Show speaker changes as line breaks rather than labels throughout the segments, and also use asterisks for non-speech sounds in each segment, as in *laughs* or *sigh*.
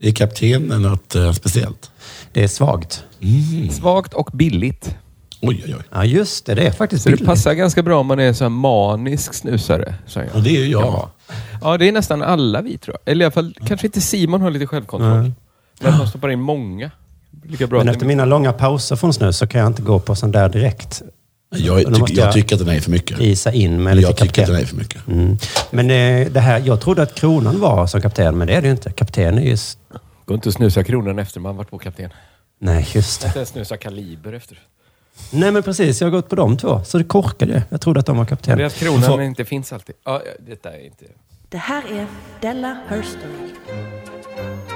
Är kaptenen något eh, speciellt?
Det är svagt. Mm.
Svagt och billigt.
Oj, oj, oj.
Ja, just det. Det är faktiskt
Så det
billigt.
passar ganska bra om man är så här manisk snusare. Så jag.
Mm.
Och det är ju jag.
Ja. ja, det är nästan alla vi tror jag. Eller i alla fall, kanske inte Simon har lite självkontroll. Men att man stoppar in många. Lika bra
Men
att-
efter mina långa pauser från snus så kan jag inte gå på sån där direkt.
Jag,
Då måste
tyck, jag
jag-
tycker att den är för mycket.
Isa in med lite
Jag tycker att den
kapten.
är för mycket.
Mm. Men eh, det här, jag trodde att kronan var som kapten, men det är det ju inte. Kapten är ju... s-
Går inte att snusa kronan efter man varit på kapten.
Nej, just det.
Inte ens snusa kaliber efter.
Nej, men precis. Jag har gått på de två, så det korkade ju. Jag trodde att de var kapten.
Det är att kronan inte finns alltid. Ja, ja, detta är inte...
Det här är Della Herstory.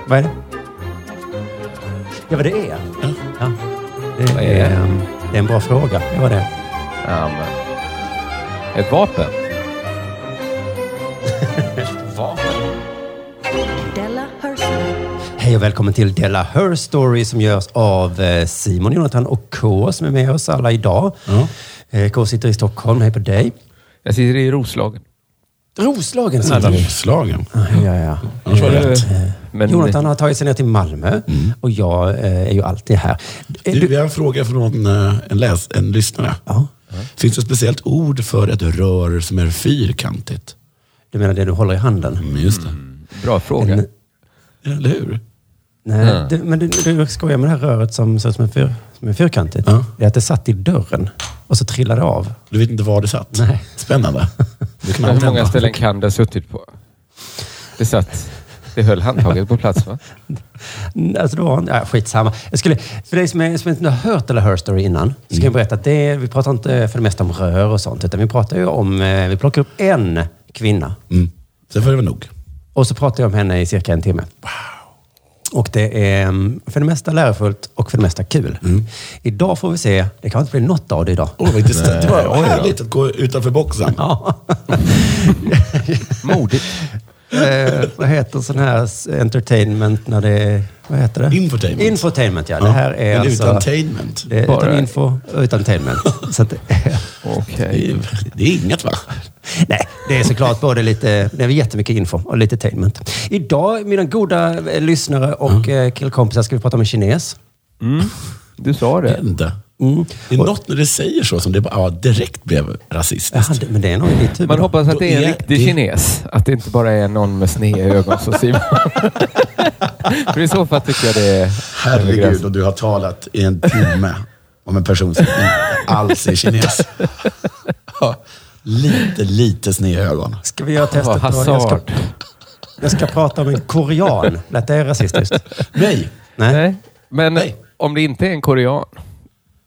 Vad är det? Ja, vad det är? Ja.
Vad
Det,
är
är,
det?
ehm, det är en bra fråga. Det var det.
Ja, men. Ett vapen? Ett vapen?
Della Herstory.
Hej och välkommen till Della Her Story som görs av eh, Simon, Jonathan och K som är med oss alla idag. Eh, K sitter i Stockholm. Hej på dig.
Jag sitter i Roslagen.
Roslagen sitter du.
Slagen.
Ah, Mm. Ja, Mm. ja.
Annars var det rätt.
Eh, Men
Jonathan har tagit sig ner till Malmö och jag eh, är ju alltid här. Är
Du,
du...
vi har en fråga från eh, en, läs, en lyssnare.
Ja.
Finns det ett speciellt ord för ett rör som är fyrkantigt?
du menar det du håller i handen?
Mm, just det.
bra fråga.
En-
Eller hur?
Nej,
Ja.
du, men du, du skojar med det här röret som ser ut som en, fyr, som en fyrkantigt.
Ja.
Det är att det satt i dörren och så trillade det av.
Du vet inte var det satt?
Nej. *laughs*
Spännande. Det kan
Men
alltid
hur många
hända.
ställen kan det ha suttit på? Det satt... Det höll handtaget på plats va?
Mm, Alltså det var en, ja, skitsamma. Jag skulle, för dig som, är, som inte har hört eller hör story innan, så kan jag berätta att det, vi pratar inte eh, för det mesta om rör och sånt, utan vi pratar ju om, eh, vi plockar upp en kvinna
Mm. Sen får det vara nog.
och så pratar jag om henne i cirka en timme. Och det är mm, för det mesta lärofullt och för det mesta kul. Idag får vi se, det kan inte bli något av det *laughs* idag.
Åh, vad intressant. Det var
oj då.
härligt att gå utanför boxen.
Ja.
Modigt.
eh, vad heter sån här s- entertainment när det är... Vad heter det?
Infotainment.
Infotainment, ja. Det här är
Men
alltså...
Utantainment.
Det, är
Bara-
utan info, *laughs* utantainment. Så att,
Okej.
Det är, det är inget va?
nej, det är såklart både lite... Det är jättemycket info och lite attainment. Idag, mina goda eh, lyssnare och mm. killkompisar, ska vi prata om en kines.
Du sa
Det
det.
hände.
Mm.
Det är något när det säger så som det bara ja, direkt blev rasistiskt.
Jag hade, men det är nog i mitt huvud.
Man hoppas att det är en
Ja,
riktig
det-
kines. Att det inte bara är någon med sneda ögon som Simon. För i så fall tycker jag det är...
Herregud, och du har talat i en timme om en person som inte alls är kines. *laughs* Ja, lite, lite sneda ögon.
Ska vi göra
Vad
testet då? Jag ska,
Hazard.
jag ska prata om en korean. Lät det rasistiskt?
Nej,
Nej.
Nej. Men
Nej.
om det inte är en korean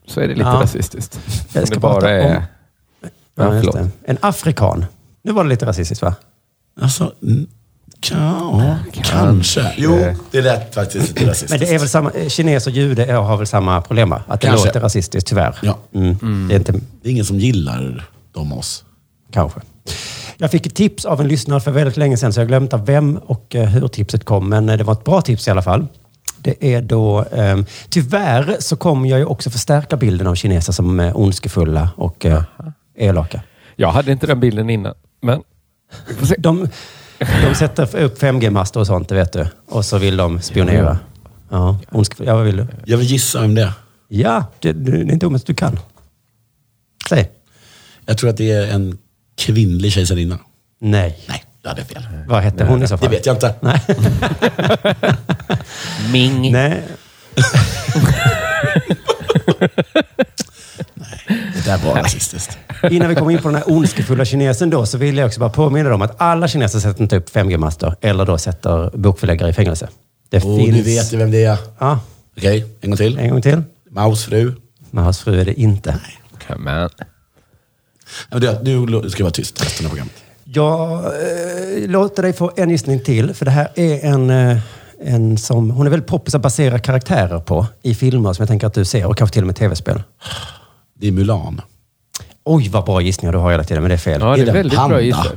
så är det lite
Ja.
rasistiskt.
Jag
Om
ska
det bara
prata
är...
om-
Ja,
Ja, just
förlåt.
det. En afrikan. Nu var det lite rasistiskt, va?
alltså... n- Ka, ja, kanske. Jo, det lät faktiskt lite rasistiskt.
Men det är väl samma, eh, kines och jude är- har väl samma problem va? Att det
Kanske.
låter rasistiskt, tyvärr.
Ja.
Mm. Det är inte,
Det är ingen som gillar dem oss.
kanske. Jag fick ett tips av en lyssnare för väldigt länge sedan, så jag har glömt av vem och eh, hur tipset kom, men eh, det var ett bra tips i alla fall. Det är då, ehm, tyvärr så kommer jag ju också förstärka bilden av kineser som eh, ondskefulla och eh, elaka.
Jag hade inte den bilden innan, men... Vi får se.
De, de sätter f- upp 5G-master och sånt, det vet du. Och så vill de spionera. Ja, ondskefulla. Ja, vad vill du?
Jag vill gissa om det är.
Ja, det, det är inte omöjligt. Du kan. Säg.
Jag tror att det är en kvinnlig kejsarinna.
Nej.
Nej, jag hade fel.
Vad hette hon i så
Det
fall?
vet jag inte.
Nej.
Ming.
Nej.
Det där var rasistiskt.
Innan vi kommer in på den här ondskefulla kinesen då, så vill jag också bara påminna dig om att alla kineser sätter typ inte upp 5G-master eller då sätter bokförläggare i fängelse. Det
*laughs* Och
finns...
nu vet du vem det är.
Ja,
Okej, en gång till.
en gång till.
Maus fru.
Men hans fru är det inte.
Come on.
Ja, men du, Nu lo- ska jag vara tyst resten av programmet.
Jag eh, låter dig få en gissning till, för det här är en, eh, en som... Hon är väldigt poppis att basera karaktärer på i filmer som jag tänker att du ser och kanske till och med tv-spel.
Det är Mulan.
Oj, vad bra gissningar du har hela tiden, men det är fel.
Är
Ja,
det
det är
en
väldigt
panda?
bra gissat.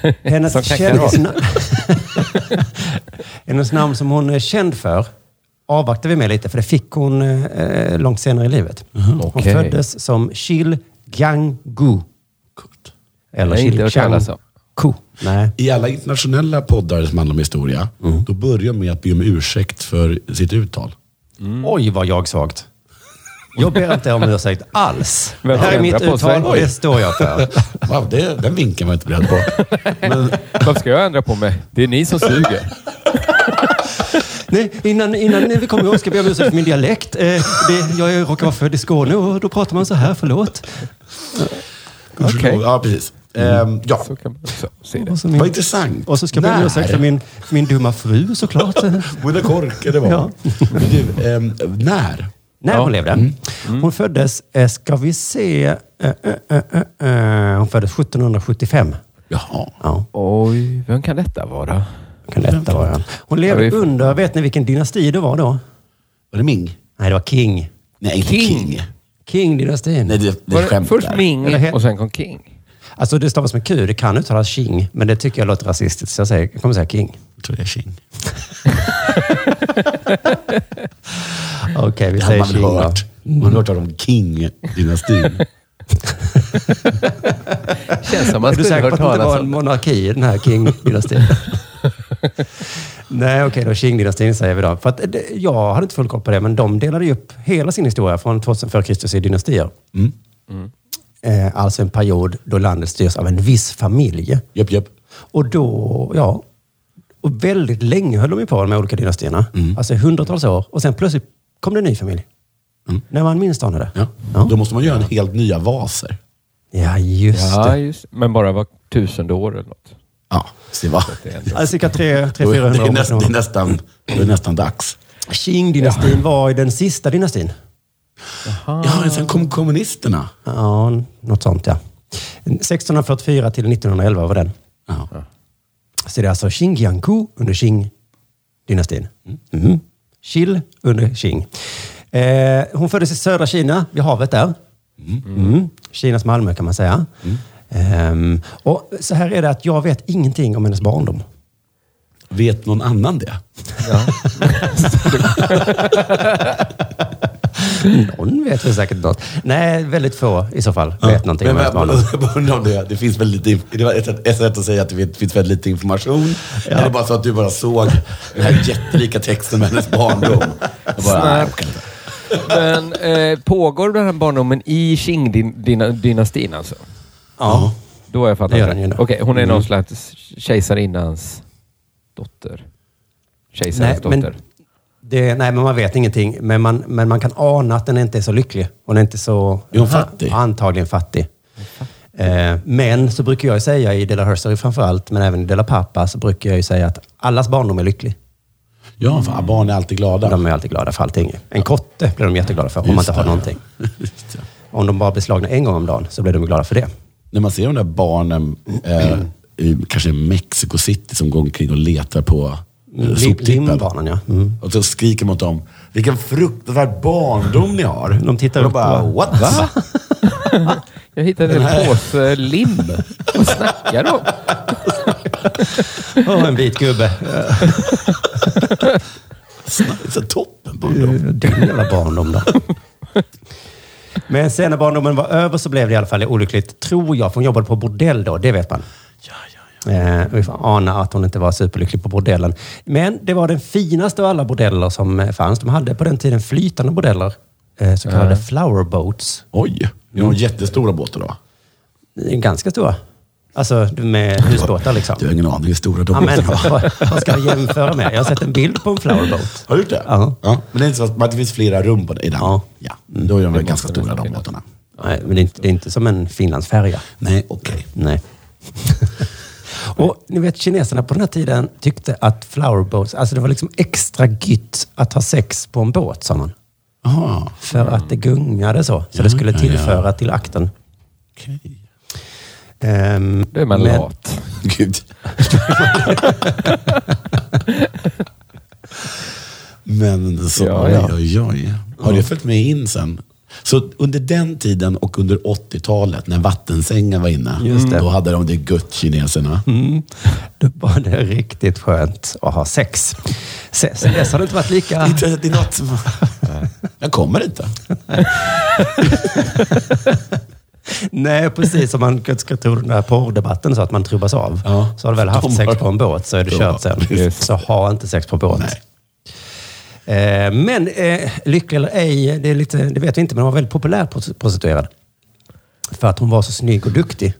Som
Hennes,
knackar av.
kändisna... *laughs* Hennes namn som hon är känd för avvaktar vi med lite, för det fick hon eh, långt senare i livet. Hon
Mm-hmm. Okej.
föddes som Shil Gang Gu.
Kort.
Eller
Nej, inte
Shil
hört talas
Chang
om.
Ko. Nej.
I alla internationella poddar som handlar om historia, då börjar de med att be om ursäkt för sitt uttal.
Mm.
Oj, vad jag svagt. Jag ber inte om ursäkt alls. Det
Vem
här är
ändrar
mitt
på sig?
uttal och det
Oj.
står jag för.
Wow, det, den vinkeln var jag inte beredd på. *laughs* Men,
Varför ska jag ändra på mig? Det är ni som suger.
Nej, innan, innan vi kommer igång ska jag be om ursäkt för min dialekt. Eh, det, jag råkar vara född i Skåne och då pratar man så här, förlåt.
Okej.
Ja, precis. Ehm, ja.
Så kan man också se det.
Och så,
Vad
min,
intressant.
och så ska jag be om
När?
ursäkt för min, för min dumma
*laughs*
fru såklart.
Både kork det var.
Ja.
Men du, ehm, när?
När hon levde.
Mm.
Hon föddes, eh, ska vi se, eh, eh, eh, eh, hon föddes 1775.
Jaha.
Ja,
Oj, vem kan detta vara?
kan detta vara. Hon levde
Ja, vi-
under, vet ni vilken dynasti det var då?
Var det Ming?
Nej, det var King.
Nej, inte
King.
King.
King-dynastin.
Nej, det, det
Var
är
det
skämt
först
där.
Ming
Eller he-
och sen kom King?
Alltså det stavas med Q, det kan uttalas King, men det tycker jag låter rasistiskt. Så jag, säger, jag kommer
*laughs*
säga King.
Jag tror det är King.
Okej, vi
Det har
säger
man väl
King då.
hört. Man har hört om King-dynastin.
*laughs*
Känns *laughs* som man
Är du
skulle
säker på
hört
att det inte
talas
var en
om.
monarki i den här King-dynastin? Nej, okej då. Qing-dynastin säger vi då. För att, det, jag hade inte full koll på det, men de delade ju upp hela sin historia från 2000 före Kristus i dynastier.
Mm.
Eh, alltså en period då landet styrs av en viss familj.
Japp, japp.
Och då, ja. Och väldigt länge höll de ju på de här olika dynastierna.
Mm.
Alltså hundratals år. Och sen plötsligt kom det en ny familj. När man minst anade.
Mm. Ja.
Ja.
Då måste man göra en helt nya vaser.
ja, just
Ja,
det.
just Men bara var tusende år eller något.
Ja, så det var...
Det är ändå-
Alltså cirka 300-400
Då
år.
är- Det är, näst,
sedan.
det, är nästan, det är nästan dags.
Qing-dynastin var ju den sista dynastin.
Ja, men sen kom kommunisterna.
Ja, något sånt ja. 1644 till 1911 var den.
Ja.
Så det är alltså Qingyanku under Qing-dynastin. Mhm. Qil under Qing. Eh, hon föddes i södra Kina, vid havet där. Mm. Kinas Malmö kan man säga. Ehm, och så här är det att jag vet ingenting om hennes barndom.
Vet någon annan det?
Ja.
Någon vet väl säkert något. Nej, väldigt få i så fall vet någonting om
men,
hennes
men,
barndom.
jag bara undrar om det, det finns väl lite, det var ett, sätt- ett sätt att säga att det finns- finns väldigt lite information. Eller bara så att du bara såg den här jättelika texten med hennes barndom. Och bara, nej, jag orkar inte.
Men eh, pågår den här barndomen i Qing-dynastin alltså?
Ja.
Då har jag
Det
fattat
gör den ju
det.
då.
Okej, hon är
Mm.
någon slags kejsarinnans dotter. Kejsarens dotter.
men, det, nej, men man vet ingenting. Men man, men man kan ana att den inte är så lycklig. Hon är inte så...
Är hon fattig?
Antagligen fattig. Eh, men så brukar jag säga i Dela Herstory framför allt, men även i Dela Pappa, så brukar jag ju säga att allas barndom är lycklig.
Ja, fan, barn är alltid glada.
De är alltid glada för allting. En kotte blir de jätteglada för om man
Just
inte har
det.
någonting.
*laughs* Just det.
Om de bara blir slagna en gång om dagen så blir de glada för det.
När man ser de där barnen, eh, i, kanske i Mexico City, som går omkring och letar på eh,
Lim-
soptippen.
Limbanan, ja. Mm.
Och så skriker mot dem, vilken fruktansvärd barndom ni har.
De tittar
och
Mm. upp
de bara,
och
what? Va?
Jag hittade en påse lim. Vad snackar du om?
Åh, oh, en vit gubbe.
Sna- *laughs* Så toppen
Eh,
barndom.
Din jävla barndom då. Men sen när barndomen var över så blev det i alla fall olyckligt, tror jag. För hon jobbade på bordell då, det vet man.
Ja, ja, ja.
Eh, vi får ana att hon inte var superlycklig på bordellen. Men det var den finaste av alla bordeller som eh, fanns. De hade på den tiden flytande bordeller, eh, så kallade flower boats.
Oj, det var jättestora båtar då.
Eh, Ganska stora. Alltså med husbåtar liksom.
Du har ingen aning hur stora de
Ja, men,
är.
*laughs* vad, vad ska jag jämföra med? Jag har sett en bild på en flower boat.
Har du gjort det?
Ja.
Men det är inte så att att det finns flera rum på det, i den?
Ja.
ja. Då är de väl ganska
måste
stora
nästan
de
finnas.
båtarna.
Nej, men det är inte, det är inte som en Finlandsfärja.
Nej, okej.
Nej. *laughs* Och ni vet kineserna på den här tiden tyckte att flower boats, alltså det var liksom extra gytt att ha sex på en båt sa man.
Jaha,
För att det gungade så. Så det skulle
Mm. ja,
tillföra till akten.
okej.
Ehm,
Då är man
men-
lat.
Gud. men så,
Ja, ja.
oj, oj, oj. Har det följt med in sen? Så under den tiden och under 80-talet när vattensängen var inne,
Just det.
då hade de det Mm. gött, kineserna.
Då var det riktigt skönt att ha sex. Sen sen dess har det inte varit lika...
Inte, det är något som... Jag kommer inte.
Nej, precis som man ska tro den där porrdebatten så att man trubbas av.
Ja.
Så har du väl haft
De har-
sex på en båt så är du
Ja,
kört sen.
precis.
Så ha inte sex på en båt. Eh, men eh, lycklig eller ej, det, är lite, det vet vi inte, men hon var väldigt populär pros- prostituerad. För att hon var så snygg och duktig.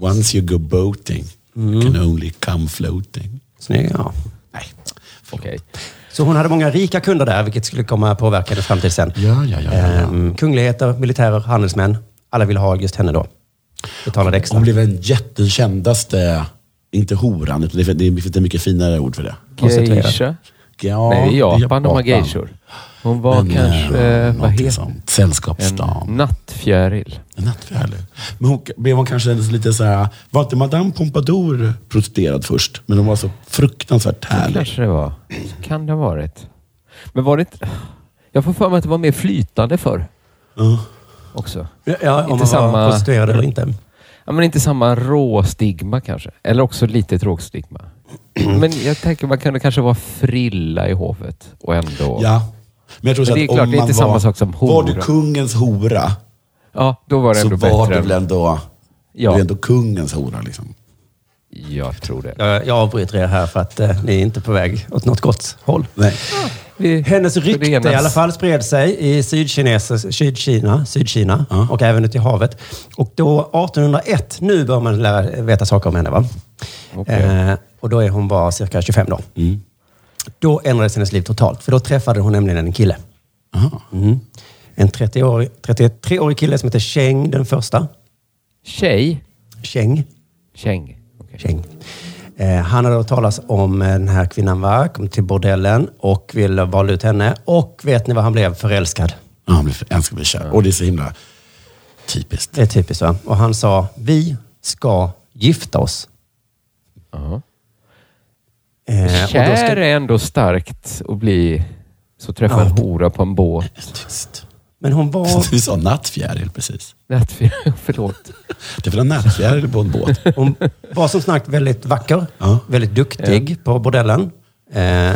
Once you go boating, can only come floating.
Snygg, ja.
Nej.
Okej.
Så hon hade många rika kunder där, vilket skulle komma att påverka hennes framtid sen.
Ja, ja, ja, ja, ja.
Ehm, kungligheter, militärer, handelsmän. Alla ville ha just henne då. Betalade extra.
Hon blev den jättekändaste, inte horan, utan det fin- det finns ett mycket finare ord för det.
Prostituerad.
Geisha?
Ja,
Nej, det är Japan de har
Japan.
geishor. Hon var
Men,
kanske,
eh,
eh, vad
någonting
heter
sånt. Sällskapsdam.
En nattfjäril.
En nattfjäril. Men hon, blev hon kanske lite så här, var inte Madame Pompadour protesterad först? Men hon var så fruktansvärt härlig.
Kanske det var. Kan det ha varit. Men var det inte... Jag får för mig att det var mer flytande förr
Ja.
också.
Ja, om man var
Inte samma-
prostituerad eller inte.
Ja, men inte samma råstigma kanske. Eller också lite råstigma. Men jag tänker man kunde kanske vara frilla i hovet och ändå...
ja. Men jag tror så
Men det är
att
klart,
om
det är
man
inte
var,
samma sak som
Var du
hora.
kungens hora
Ja, då var det
så
ändå
var
bättre.
du väl ändå,
Ja.
du är ändå kungens hora. Liksom.
Jag tror det.
Jag, jag avbryter er här för att eh, ni är inte på väg åt något gott håll.
Nej.
Vi-
Hennes rykte
förenas.
i alla fall spred sig i Sydkines- Sydkina, Sydkina
Ja.
och även ute i havet. Och då 1801, nu bör man lära, veta saker om henne va?
Okej.
Eh, och då är hon bara cirka 25 då.
Mm.
Då ändrades hennes liv totalt, för då träffade hon nämligen en kille.
Aha.
Mm. En 30-årig 33-årig kille som heter Cheng den första.
Tjej?
Cheng.
Käng. Okej.
Cheng. Eh, han hade hört talas om eh, den här kvinnan va, kom till bordellen och ville vala ut henne. Och vet ni vad han blev? Förälskad.
Ja, han blev älskad bli kär. Och det är så himla typiskt.
Det är typiskt va? Och han sa, vi ska gifta oss.
Ja.
Eh, och då
Kär
ska,
är ändå starkt att bli... Så träffa en hora på en båt.
*laughs* Tyst.
men hon var,
Du sa nattfjäril precis.
Nattfjäril, *laughs* förlåt.
Det är väl en nattfjäril på en båt?
hon var som sagt väldigt vacker,
Ja.
väldigt duktig på bordellen. Eh,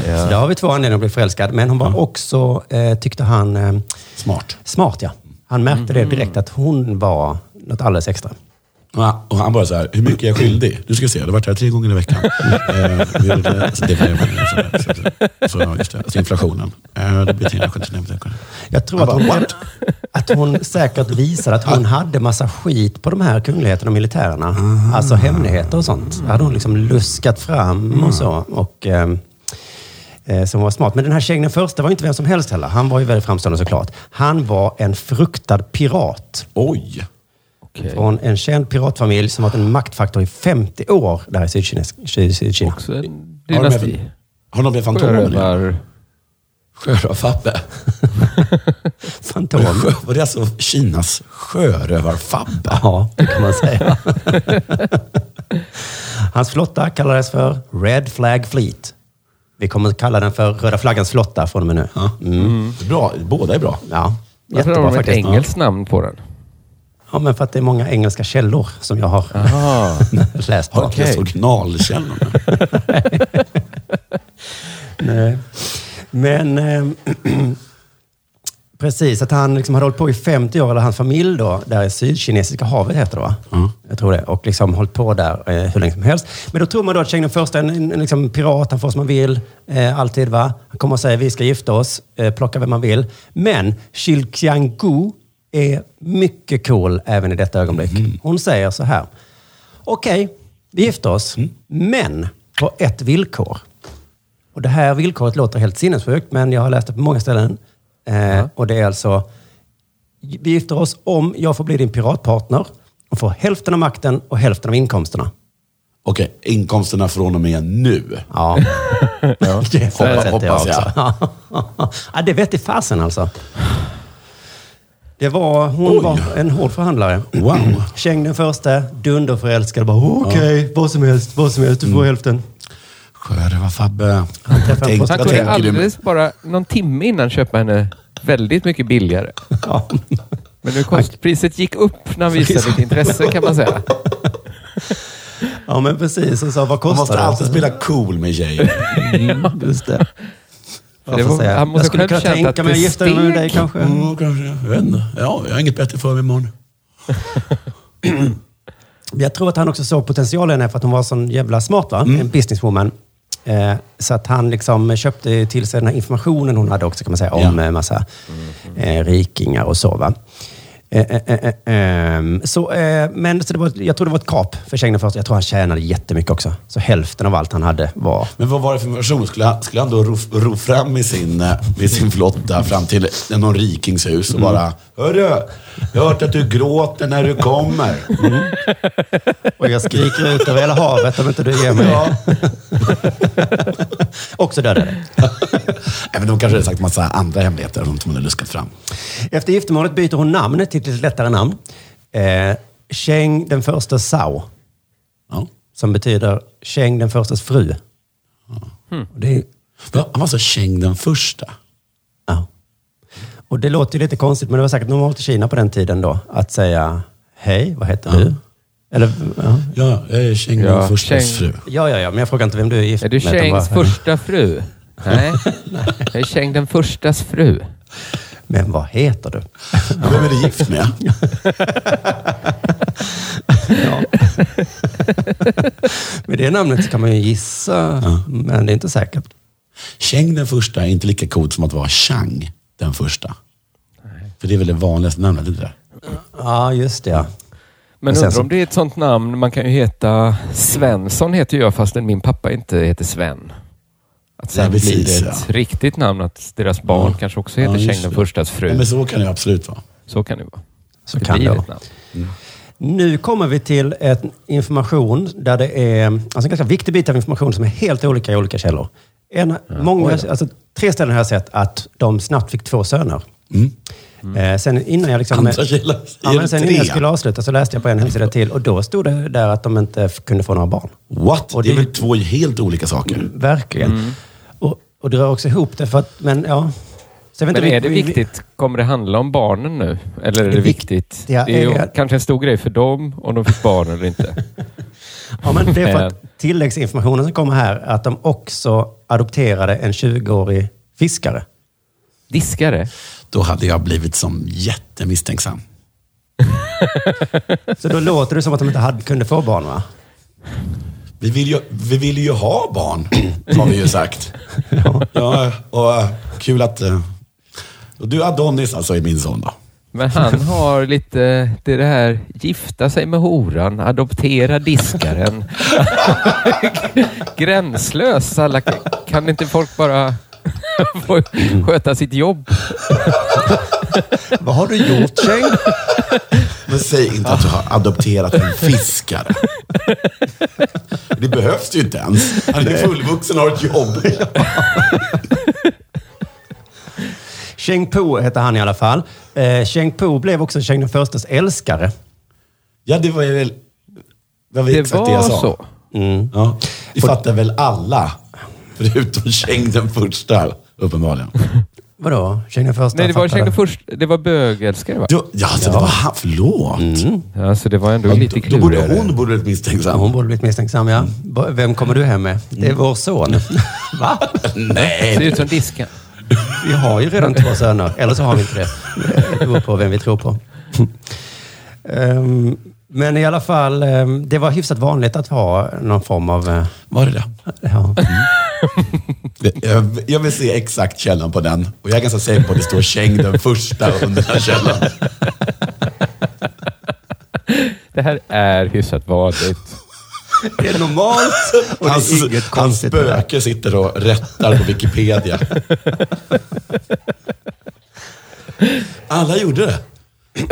Så där har vi två anledningar att bli förälskad. Men hon var också, eh, tyckte han, eh,
Smart.
smart ja. Han märkte
Mm.
det direkt att hon var något alldeles extra.
Ja, och han bara så här, hur mycket är jag skyldig? Du ska se, jag har varit här tre gånger i
*laughs*
veckan. Eh, vi gjorde det, så det var ju- så- så- så- så, just det, så inflationen. Eh, det blir 379 miljoner.
Jag tror
Han
att
bara,
hon,
what?
att hon säkert visade att hon hade massa skit på de här kungligheterna och militärerna. Alltså hemligheter och sånt. hade hon liksom luskat fram och så. Och, ehm, eh, som var smart. Men den här Cheng den första var inte vem som helst heller. Han var ju väldigt framstående såklart. Han var en fruktad pirat.
Oj!
Okej.
Från en känd piratfamilj som varit en maktfaktor i 50 år där i Sydkines- Syd- Sydkina.
Också en
Har de
dynasti.
med- Har de blivit fantomer nu?
Sjörövar...
Sjörövarfabbe.
Fantom.
Sjö- Var det alltså Kinas sjörövarfabbe?
Ja, det kan man säga. Hans flotta kallades för Red Flag Fleet. Vi kommer att kalla den för Röda Flaggans flotta från och med nu. Mm.
Ja. Mm. Bra, båda är bra.
Ja,
Varför har
jättebra
de ett
faktiskt.
engelskt namn på den?
Ja, men för att det är många engelska källor som jag har
Aha.
*laughs* läst på.
Har inte ens originalkällorna.
Nej. Men ehm, *clears throat* precis, att han liksom hade hållit på i 50 år, eller hans familj då, där i Sydkinesiska havet heter det va? Jag tror det. Och liksom hållit på där eh, hur länge som helst. Men då tror man då att Cheng den första är en, en, en liksom pirat, han får som han vill, eh, alltid va. Han kommer och säger vi ska gifta oss, eh, plocka vem man vill. Men Shil Qiangu är mycket cool även i detta ögonblick. Hon säger så här. Okej, vi gifter oss, men på ett villkor. Och det här villkoret låter helt sinnessjukt, men jag har läst det på många ställen. Eh, Och det är alltså, vi gifter oss om jag får bli din piratpartner och får hälften av makten och hälften av inkomsterna.
Okej, inkomsterna från och med nu. *laughs*
Ja, det förutsätter jag
hoppas jag.
också. *laughs* ja, det vet i fasen alltså. Det var, hon
Oj.
var en hård förhandlare.
Wow.
Cheng den första, dunderförälskad. bara, Okej, vad som helst, vad som helst, du får
Mm.
hälften. *laughs*
Sjörövarfabbe.
träffade en
Tänk-
prostituerad.
Han
Vad
kunde
tänker du?
alldeles bara någon timme innan köpa henne väldigt mycket billigare.
Ja.
Men nu konstpriset gick upp när han visade lite intresse kan man säga.
ja, men precis. Och sa, vad
Man måste
kostar
alltid
det?
spela cool med tjejer.
Just det.
Mm. Det var-
säga.
han måste
jag skulle
själv
kunna
känt
tänka
att
mig att
det
gifta
Mm.
mig med
Mm,
steg.
dig kanske.
Ja, kanske. Jag vet inte. Ja, jag har inget bättre för mig imorgon.
Men Jag tror att han också såg potentialen i henne för att hon var sån jävla smart, va? En businesswoman. Eh, så att han liksom köpte till sig den här informationen hon hade också, kan man säga, om
Ja.
en massa eh, rikingar och så. Va? Eh, eh, eh, eh, ehm, så, eh, men så det var, jag tror det var ett kap för Schengen först. Jag tror han tjänade jättemycket också. Så hälften av allt han hade var...
Men vad var det för person? Skulle han, skulle han då ro, ro fram med sin, eh, med sin flotta fram till någon rikingshus och bara Hörru, jag har hört att du gråter när du kommer.
Och jag skriker ut över hela havet om inte du ger
*laughs*
mig.
Ja.
Också dödade.
Även de kanske hade sagt massa andra hemligheter som hon hade luskat fram.
Efter giftermålet byter hon namnet till ett lite lättare namn. Eh, Cheng den första Sao,
Ja.
som betyder Cheng den förstas fru.
Hmm.
Och, det, är-
Va, Han var så Cheng den första.
ja. och det låter ju lite konstigt, men det var säkert normalt i Kina på den tiden då, att säga hej, vad heter du? Eller, ja.
Ja, jag är Cheng
Ja,
den förstas
Cheng.
fru.
ja, ja, ja, men jag frågar inte vem du är gift
Är du
utan bara-
Chengs första fru? Nej, jag är Cheng den förstas fru.
Men vad heter du?
Vem är du gift med?
Ja. med det namnet så kan man ju gissa, men det är inte säkert.
Cheng den första är inte lika coolt som att vara Chang den första. För det är väl det vanligaste namnet, inte det?
Ja, just det. Ja.
Men
sen
undrar
så-
om det är ett sånt namn. Man kan ju heta Svensson heter jag fastän min pappa inte heter Sven. Att sen
Ja, precis,
blir det ett
ja.
riktigt namn att deras barn kanske också heter
Ja, just
Cheng den
det.
förstas fru.
Ja, men så kan det ju absolut vara.
Så kan det vara.
Så kan
blir
det
ett
vara.
namn.
Nu kommer vi till ett information där det är alltså en ganska viktig bit av information som är helt olika i olika källor. En, många, alltså, tre ställen har jag sett att de snabbt fick två söner. Eh, sen innan jag liksom...
Andra källor
Ja, men sen
säger
innan jag
tre.
skulle avsluta så läste jag på en hemsida till och då stod det där att de inte f- kunde få några barn.
What?
Och
det är
det-
väl två helt olika saker?
Verkligen. Och, och det rör också ihop det för att, men ja. Så jag vet
Men
vi-
är det
vi- vi-
viktigt? Kommer det handla om barnen nu? Eller är
Det
det viktigt? Det
viktiga
är ju
är att-
kanske en stor grej för dem om de fick barn eller inte.
Ja, men det är för att tilläggsinformationen som kommer här att de också adopterade en 20-årig fiskare.
Diskare?
Då hade jag blivit som jättemisstänksam.
Så då låter det som att de inte hade, kunde få barn va?
Vi vill ju, vi vill ju ha barn, har vi ju
*laughs*
sagt. ja, och eh, kul att... eh, Och du Adonis alltså är min son då. *laughs*
Men han har lite det, är det här gifta sig med horan,
*laughs*
adoptera diskaren. Gränslös. Alla, kan inte folk bara få sköta sitt jobb?
Vad har du gjort Cheng?
Men säg inte att du har adopterat en fiskare. Det behövs ju inte ens. Han är fullvuxen och har ett jobb.
Cheng Po hette han i alla fall. Eh, Cheng Po blev också Cheng den förstes älskare.
Ja, det var ju väl... Det var
Det
exakt det jag
var
sa. Mm.
så.
Ja, det fattar väl alla. Förutom Cheng den första, uppenbarligen.
Vadå? Cheng den första?
Nej, det var,
fattade.
Schenker först, det var bögälskare va?
Du, ja, alltså, det var han. Förlåt. Mm.
Alltså, det var ändå lite
Då borde
klurigare.
hon borde bli misstänksam.
Hon borde blivit misstänksam ja. B- Vem kommer du hem med? Det är vår son. Va?
Ser
Nej,
ut som diskan.
Vi har ju redan två söner, eller så har vi inte det. Det beror på vem vi tror på. Ehm, Men i alla fall, ehm, det var hyfsat vanligt att ha någon form av... eh,
var det det?
Ja.
Jag- Jag vill se exakt källan på den. Och jag är ganska säker på att det står Cheng den första under den här källan.
Det här är hyfsat vanligt.
Det är normalt *laughs* och det
Hans,
är inget
hans
konstigt med det.
spöke sitter och rättar på Wikipedia. Alla gjorde det.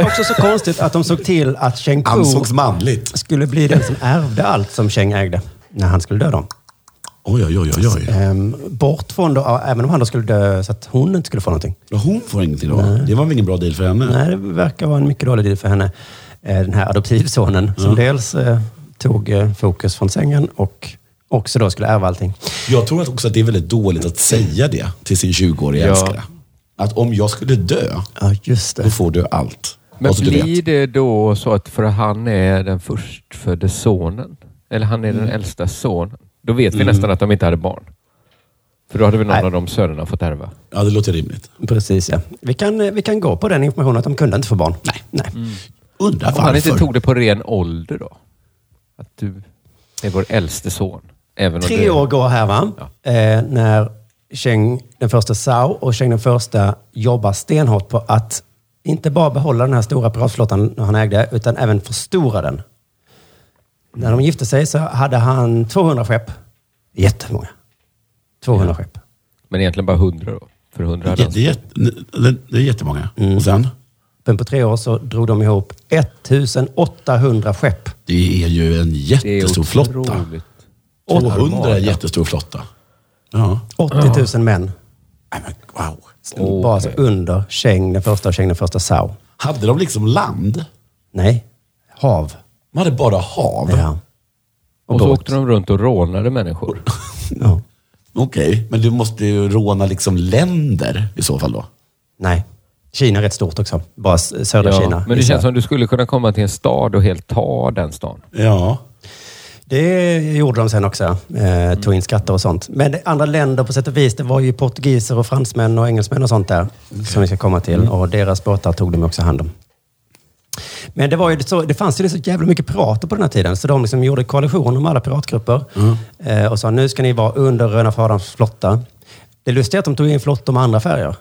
Också så konstigt att de såg till att Cheng Po
Ansågs
Oh.
manligt.
skulle bli den som ärvde allt som Cheng ägde när han skulle dö då.
Oj, oj, oj, oj. oj.
Ehm, Bort från då, även om han då skulle dö så att hon inte skulle få någonting.
Ja, Hon får ingenting då. Det var väl ingen bra deal för henne?
Nej, det verkar vara en mycket dålig deal för henne. Eh, Den här adoptivsonen som dels eh, tog eh, fokus från sängen och också då skulle ärva allting.
Jag tror att också att det är väldigt dåligt att säga det till sin 20-åriga
Ja.
älskare. Att om jag skulle dö,
Ja, just
då får du allt.
Men
Bara så Alltså, du
blir
vet.
det då så att för att han är den förstfödde sonen, eller han är den äldsta sonen, då vet vi nästan att de inte hade barn. För då hade väl någon
Nej.
av de sönerna fått ärva.
Ja, det låter rimligt.
Precis, ja. Vi kan, eh, vi kan gå på den informationen att de kunde inte få barn. Nej. Nej.
Undrar
Om han inte
varför.
tog det på ren ålder då? Att du är vår äldste son. Även om
Tre
du...
år går här va? Eh, när Cheng den första Sao och Cheng den första jobbar stenhårt på att inte bara behålla den här stora piratflottan han ägde, utan även förstora den. När de gifte sig så hade han 200 skepp. Jättemånga. 200 skepp.
Men egentligen bara hundra då? Mm. För hundra hade
Det,
han-
det, är jätte- det är jättemånga. Och sen,
Men på tre år så drog de ihop 1800 skepp.
det är ju en
det är
jättestor flotta.
otroligt.
200 är en jättestor flotta. Ja.
80 000 män.
Nej, men wow.
Stod bara alltså
Okej.
under Cheng den första och Cheng den första Sao.
Hade de liksom land?
Nej, hav.
De hade bara hav?
Ja.
Och så
båt.
åkte de runt och rånade människor.
Ja.
Okej, men du måste ju råna liksom länder i så fall då?
Nej. Kina är rätt stort också. Bara s- södra Kina.
men det
gissar
känns som du skulle kunna komma till en stad och helt ta den stan.
Ja.
jag. det gjorde de sen också. Eh, tog in skatter och sånt. Men det- andra länder på sätt och vis, det var ju portugiser och fransmän och engelsmän och sånt där. Som vi ska komma till. Och deras båtar tog de också hand om. Men det, var ju så, det fanns ju liksom så jävla mycket pirater på den här tiden. Så de liksom gjorde koalitioner med alla piratgrupper. Eh, och sa nu ska ni vara under Röda Faderns flotta. Det lustiga är att de tog in flottor med andra färger.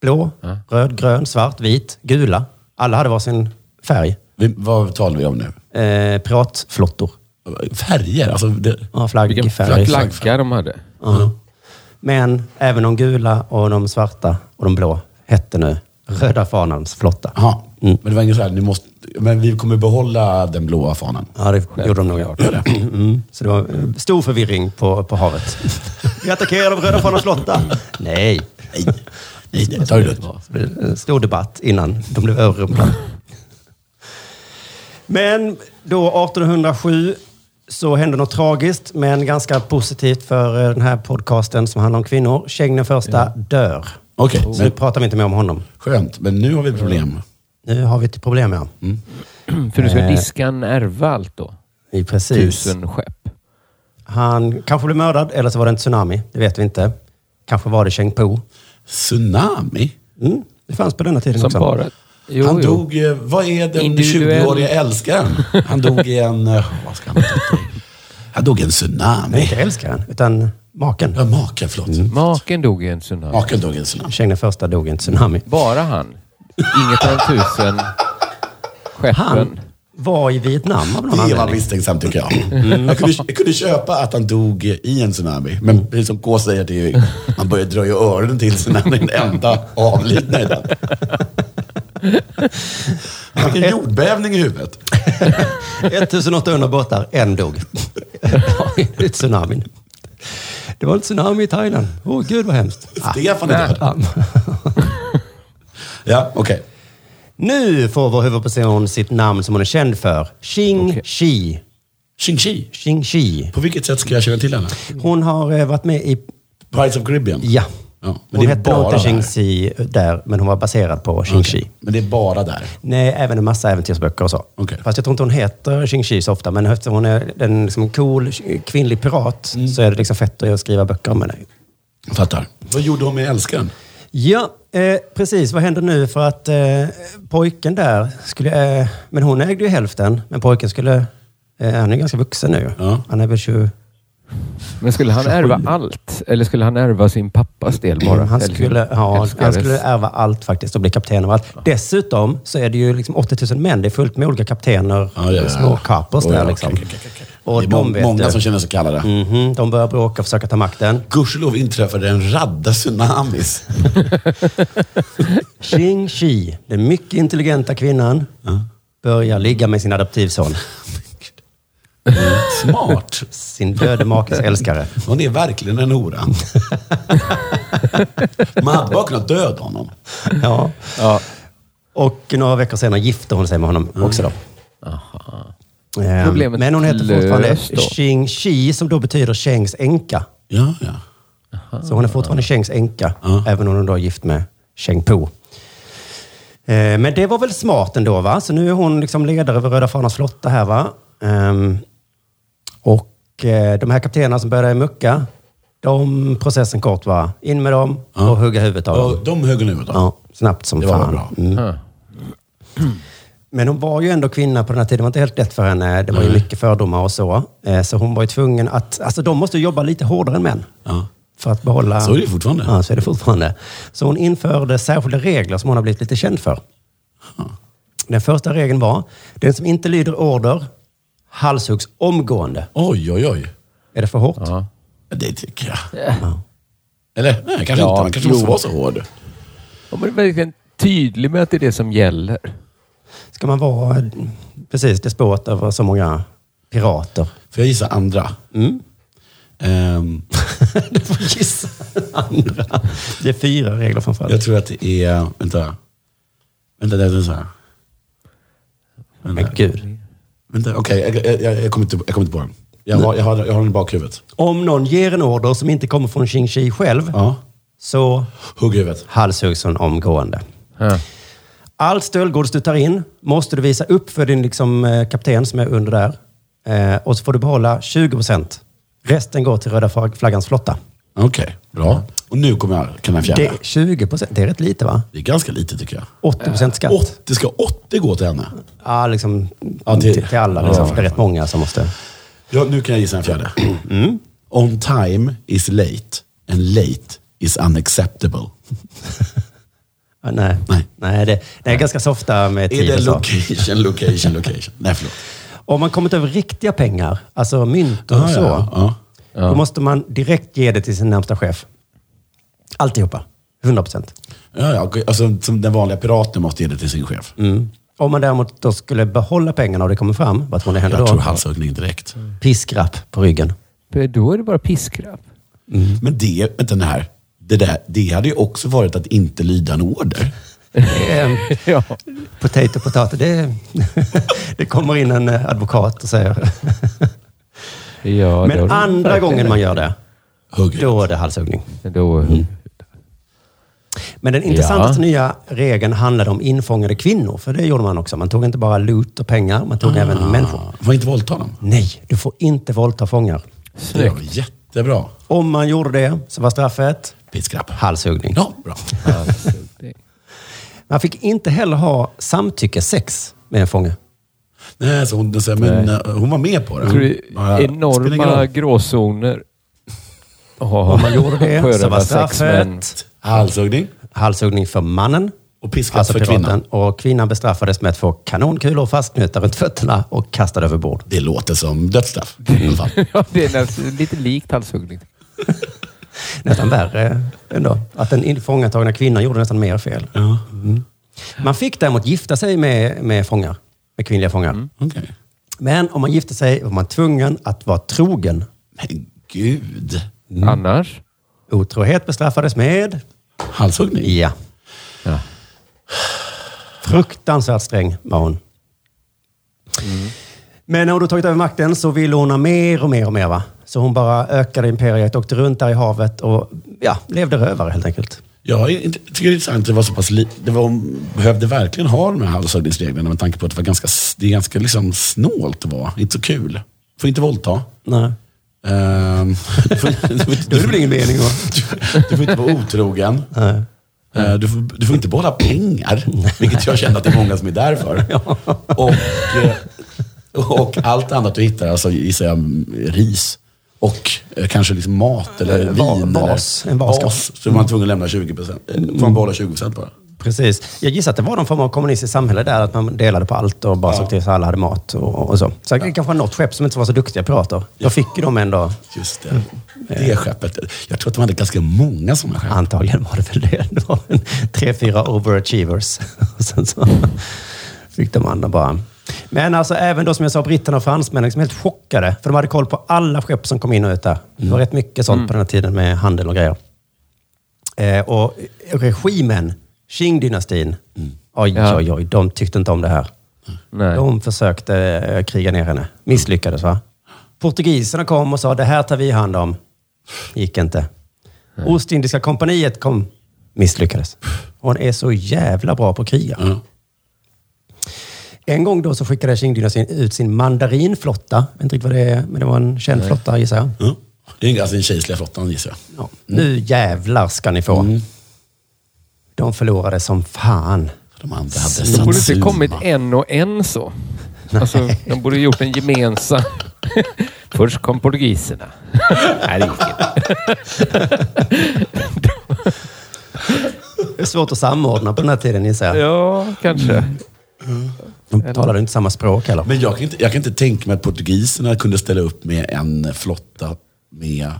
Blå, röd, grön, svart, vit, gula. Alla hade varsin färg.
Vi, vad talar vi om nu?
Eh, piratflottor.
Färger? Alltså, det,
Ja, flagg,
Vilken
färg.
flagga de hade.
Ja. Men även de gula och de svarta och de blå hette nu Röda Fanans flotta.
aha. Men det var inget så här, ni måste, men vi kommer behålla den blåa fanan.
Ja, det gjorde de nog. ja. *clears throat* Mm. Så det var eh, stor förvirring på, på havet. *laughs* Vi attackerar de Röda Fanans flotta. Nej.
Nej, nej, nej ta det lugnt.
Så blev det en stor debatt innan de blev överrumplade. Men då 1807 så hände något tragiskt, men ganska positivt för eh, den här podcasten som handlar om kvinnor. Cheng den första dör.
Okej,
Så nu
men,
pratar vi inte mer om honom.
skönt. Men nu har vi problem.
Nu har vi ett problem med honom.
Mm. För nu ska
Eh.
diskan ärva allt då.
I precis.
Tusen skepp.
Han kanske blev mördad, eller så var det en tsunami. Det vet vi inte. Kanske var det Cheng Po.
Tsunami?
Mm. Det fanns på denna tiden
Som
också.
bara... Jo,
han
jo.
dog, eh, vad är den
Individuell-
20-åriga älskaren? Han dog i en, eh, vad ska han ha dött i? Han dog i en
Nej,
tsunami.
inte älskaren, utan maken.
Ja, maken, förlåt.
Mm. Maken dog i en tsunami.
Maken dog i en tsunami.
Cheng den första dog i en tsunami.
Bara han. Inget av de tusen skeppen.
Han var i Vietnam av någon
Det var
anledning.
misstänksamt tycker jag.
Mm.
Jag kunde, jag kunde köpa att han dog i en tsunami. Men precis som K säger, det är ju, man börjar dröja öronen till sig när han är den enda avlidna i den. Vilken jordbävning i huvudet.
1800 båtar, en
*laughs*
dog. I tsunamin. Det var en tsunami i Thailand. Åh oh, gud vad hemskt.
Stefan är död.
Ah.
Ja, okej.
Nu får vår huvudperson sitt namn som hon är känd för. Xing
Okej.
Shi.
Ching Chi.
Xing Shi.
På vilket sätt ska jag känna till henne?
Hon har eh, varit med i...
Pirates of Caribbean?
Ja.
Ja, men
hon
det är
hette nog
bara
inte Xing
där.
Shi där, men hon var baserad på Xing Shi.
Okej. Men det är bara där.
Nej, även en massa äventyrsböcker och så.
Okej.
Fast jag tror inte hon heter Xing Shi så ofta, men eftersom hon är en liksom cool kvinnlig pirat
Mm.
så är det liksom fett att skriva böcker om henne.
Jag fattar. Vad gjorde hon med älskaren?
Ja, eh, precis. Vad händer nu? För att eh, pojken där skulle... Eh, men hon ägde ju hälften, men pojken skulle... Eh, han är ju ganska vuxen nu.
Ja.
Han är väl 20...
Men skulle han ärva allt? Eller skulle han ärva sin pappas del bara?
Han
Eller
skulle, ja, han
älskares?
skulle ärva allt faktiskt och bli kapten över allt. Dessutom så är det ju liksom 80 000 män. Det är fullt med olika kaptener,
Ja, ja, ja.
små kapers
Oh, ja,
där
okej,
liksom.
okej, okej, okej.
Och
det är
de
må-
vet
många
du.
som känner sig kallade.
Mhm, de börjar bråka och försöka ta makten.
Gudskelov inträffade en radda tsunamis.
Xing Shi, den mycket intelligenta kvinnan, börjar ligga med sin adoptivson.
Smart.
Sin
*laughs*
döde makes älskare.
Hon är verkligen en hora. Man hade bara kunnat döda honom.
Ja.
Ja.
Och några veckor senare gifter hon sig med honom också då. Ehm,
Problemet
Men hon heter fortfarande
löst då.
Xing Shi, som då betyder Chengs änka.
Ja, ja.
Så hon är fortfarande Chengs änka,
Ja.
även om hon då är gift med Cheng Po. Eh, Men det var väl smart ändå, va? Så nu är hon liksom ledare över Röda fanans flotta här, va? Ehm, Och eh, de här kaptenerna som började mucka, de processen kort, va? In med dem
Ja.
och hugga huvudet av dem.
Och de högg nu då?
Ja, snabbt som
Det var
fan.
bra.
Mm.
Ja.
Men hon var ju ändå kvinna på den här tiden. Det var inte helt lätt för henne. Det var ju
Nej.
mycket fördomar och så. Eh, Så hon var ju tvungen att... Alltså de måste jobba lite hårdare än män.
Ja.
För att behålla...
Så är det ju fortfarande.
Ja, så är det fortfarande. Så hon införde särskilda regler som hon har blivit lite känd för. Den första regeln var, den som inte lyder order halshuggs omgående.
Oj, oj, oj.
Är det för hårt?
Ja.
Det tycker jag. Eller? Nej, kanske
Ja,
inte. Man kanske måste
jo.
vara så hård.
Om man är verkligen tydlig med att det är det som gäller.
Ska man vara eh, precis despot över så många pirater? *laughs*
För jag gissar andra.
Mm.
Ehm,
du får gissa den andra. Det är fyra regler
jag
framförallt.
tror att det är... Vänta. Vänta, det är så här.
Men gud.
Vänta, okej. jag, jag, jag, kommer inte, jag kommer inte på den. Jag har, jag har, jag har den i bakhuvudet.
Om någon ger en order som inte kommer från Xing Shi själv,
Ja.
så
Hugg huvudet.
halshuggs hon omgående.
Ja.
Allt stöldgods du tar in måste du visa upp för din liksom, eh, kapten som är under där. Eh, och så får du behålla 20 procent. Resten går till Röda flag- flaggans flotta.
Okej, bra. Och nu kommer jag kunna fjärna.
Det,
Det,
är 20 procent, det är rätt lite va?
är ganska lite tycker jag.
80 procent skatt.
Åt, det ska 80 gå till henne.
Ja, liksom,
Ja, till-
till, till alla. Liksom.
Ja.
Det är rätt många som måste...
Ja, nu kan jag gissa en *clears throat* fjärde. Mm. On time is late and late is unacceptable.
Ja, nej.
Nej.
nej, det, det är ganska softa med
Är
tid
det
och så.
location, location, location? *laughs* Nej, förlåt.
Om man kommit över riktiga pengar, alltså mynt och
Ah,
så,
ja, ja.
då måste man direkt ge det till sin närmsta chef. Alltihopa. 100 procent.
Ja, ja, alltså, som den vanliga piraten måste ge det till sin chef.
Om man däremot då skulle behålla pengarna och det kommer fram, vad tror ni händer
Jag tror
då?
halshuggning direkt.
Piskrapp på ryggen.
För Då är det bara piskrapp. Mm.
Men det, vänta nu här. Det, där, det hade ju också varit att inte lyda en order.
Ehm,
*laughs* Ja.
Potato, potato. Det, *laughs* det kommer in en eh, advokat och säger.
Ja, då-
Men andra gången man gör det,
Hugg.
då är det halshuggning.
Då,
Mm. Men den intressantaste nya regeln handlade om infångade kvinnor. För det gjorde man också. Man tog inte bara loot och pengar, man tog även människor.
Ah. Var inte våldta honom.
Nej, du får inte våldta fångar.
Det
Snyggt.
var jättebra.
Om man gjorde det så var straffet
Piskrapp.
halshuggning.
Ja, bra.
Man fick inte heller ha samtyckessex med en fånge.
Nej, så hon, så, här, men,
Nej.
eh, hon var med på det.
Jag tror det
Mm. Ja,
är
ja. Spelar ingen
enorma
roll.
gråzoner.
Om man gjorde det så var
Sjöräddarsex,
straffet
Halshuggning.
halshuggning för mannen. Alltså
Och piskrapp
Alltså,
för kvinnan.
Och kvinnan bestraffades med att få kanonkulor fastknutna runt fötterna och kastade över bord.
Det låter som dödsstraff. i alla fall.
*laughs* men- *laughs* Ja, det är nästan lite likt halshuggning.
Nästan värre ändå. Att den infångatagna kvinnan gjorde nästan mer fel. Mm.
Ja,
Man fick däremot gifta sig med, med fångar, med kvinnliga fångar.
okej.
Men om man gifte sig var man tvungen att vara trogen.
Men gud.
Annars?
Otrohet bestraffades med...
Halshuggning?
Ja.
Ja.
Fruktansvärt sträng var hon. Men när hon då tagit över makten så ville hon ha mer och mer och mer. Va? Så hon bara ökade imperiet, åkte runt där i havet och ja, levde rövare helt enkelt.
Ja, jag tycker det är intressant att det var så pass li- det var, hon behövde verkligen ha de här halshuggningsreglerna med tanke på att det var ganska, s- det är ganska liksom snålt det var. Inte så kul. Får inte våldta.
Nej. *laughs*
Ehm, du, får, du, får,
Då är det väl ingen mening att...
du, *laughs* du får inte vara otrogen. Eh, Du får, du får inte behålla pengar, vilket jag känner att det är många som är där
*laughs*
för. Och, eh, och allt annat du hittar, alltså gissar jag ris och eh, kanske liksom mat eller
Eh, va-
vin.
vas.
eller,
En Mm. vas.
vas. Så man är tvungen att lämna 20 procent. Får man behålla 20 procent bara?
Precis. Jag gissar att det var någon form av kommunistiskt samhälle där, att man delade på allt och bara såg till så alla hade mat och, och så. Så det kanske var något skepp som inte var så duktiga pirater. Då fick ju de ändå,
Just det.
Mm.
Det skeppet. Jag tror att de hade ganska många sådana skepp.
antagligen var det väl det, det *laughs* var en, tre, fyra overachievers. *laughs* Och sen så fick de andra bara... Men alltså även då som jag sa, britterna och fransmännen som är helt chockade. För de hade koll på alla skepp som kom in och ut där. Det var rätt mycket sånt på den här tiden med handel och grejer. Eh, och regimen, Qing-dynastin, oj,
Ja.
oj, oj, de tyckte inte om det här.
Nej.
De försökte eh, kriga ner henne. Misslyckades va? Portugiserna kom och sa det här tar vi hand om. Gick inte. Ostindiska kompaniet kom. Misslyckades. Hon är så jävla bra på att kriga.
Mm.
Ja.
En gång då så skickade Qing-dynastin ut sin mandarinflotta. Jag vet inte riktigt vad det är, men det var en känd flotta gissar jag.
Ja. Det är alltså den kejserliga flottan gissar jag.
Mm.
Ja. Nu jävlar ska ni få. De förlorade som fan.
De andra hade
De borde inte
Satsuma.
kommit en och en så. Alltså, de borde gjort en gemensam. *laughs* Först kom portugiserna. *laughs* Nej, det gick inte.
Det är svårt att samordna på den här tiden gissar jag.
Ja, kanske.
De talade inte samma språk heller.
Men jag kan, inte, jag kan inte tänka mig att portugiserna kunde ställa upp med en flotta med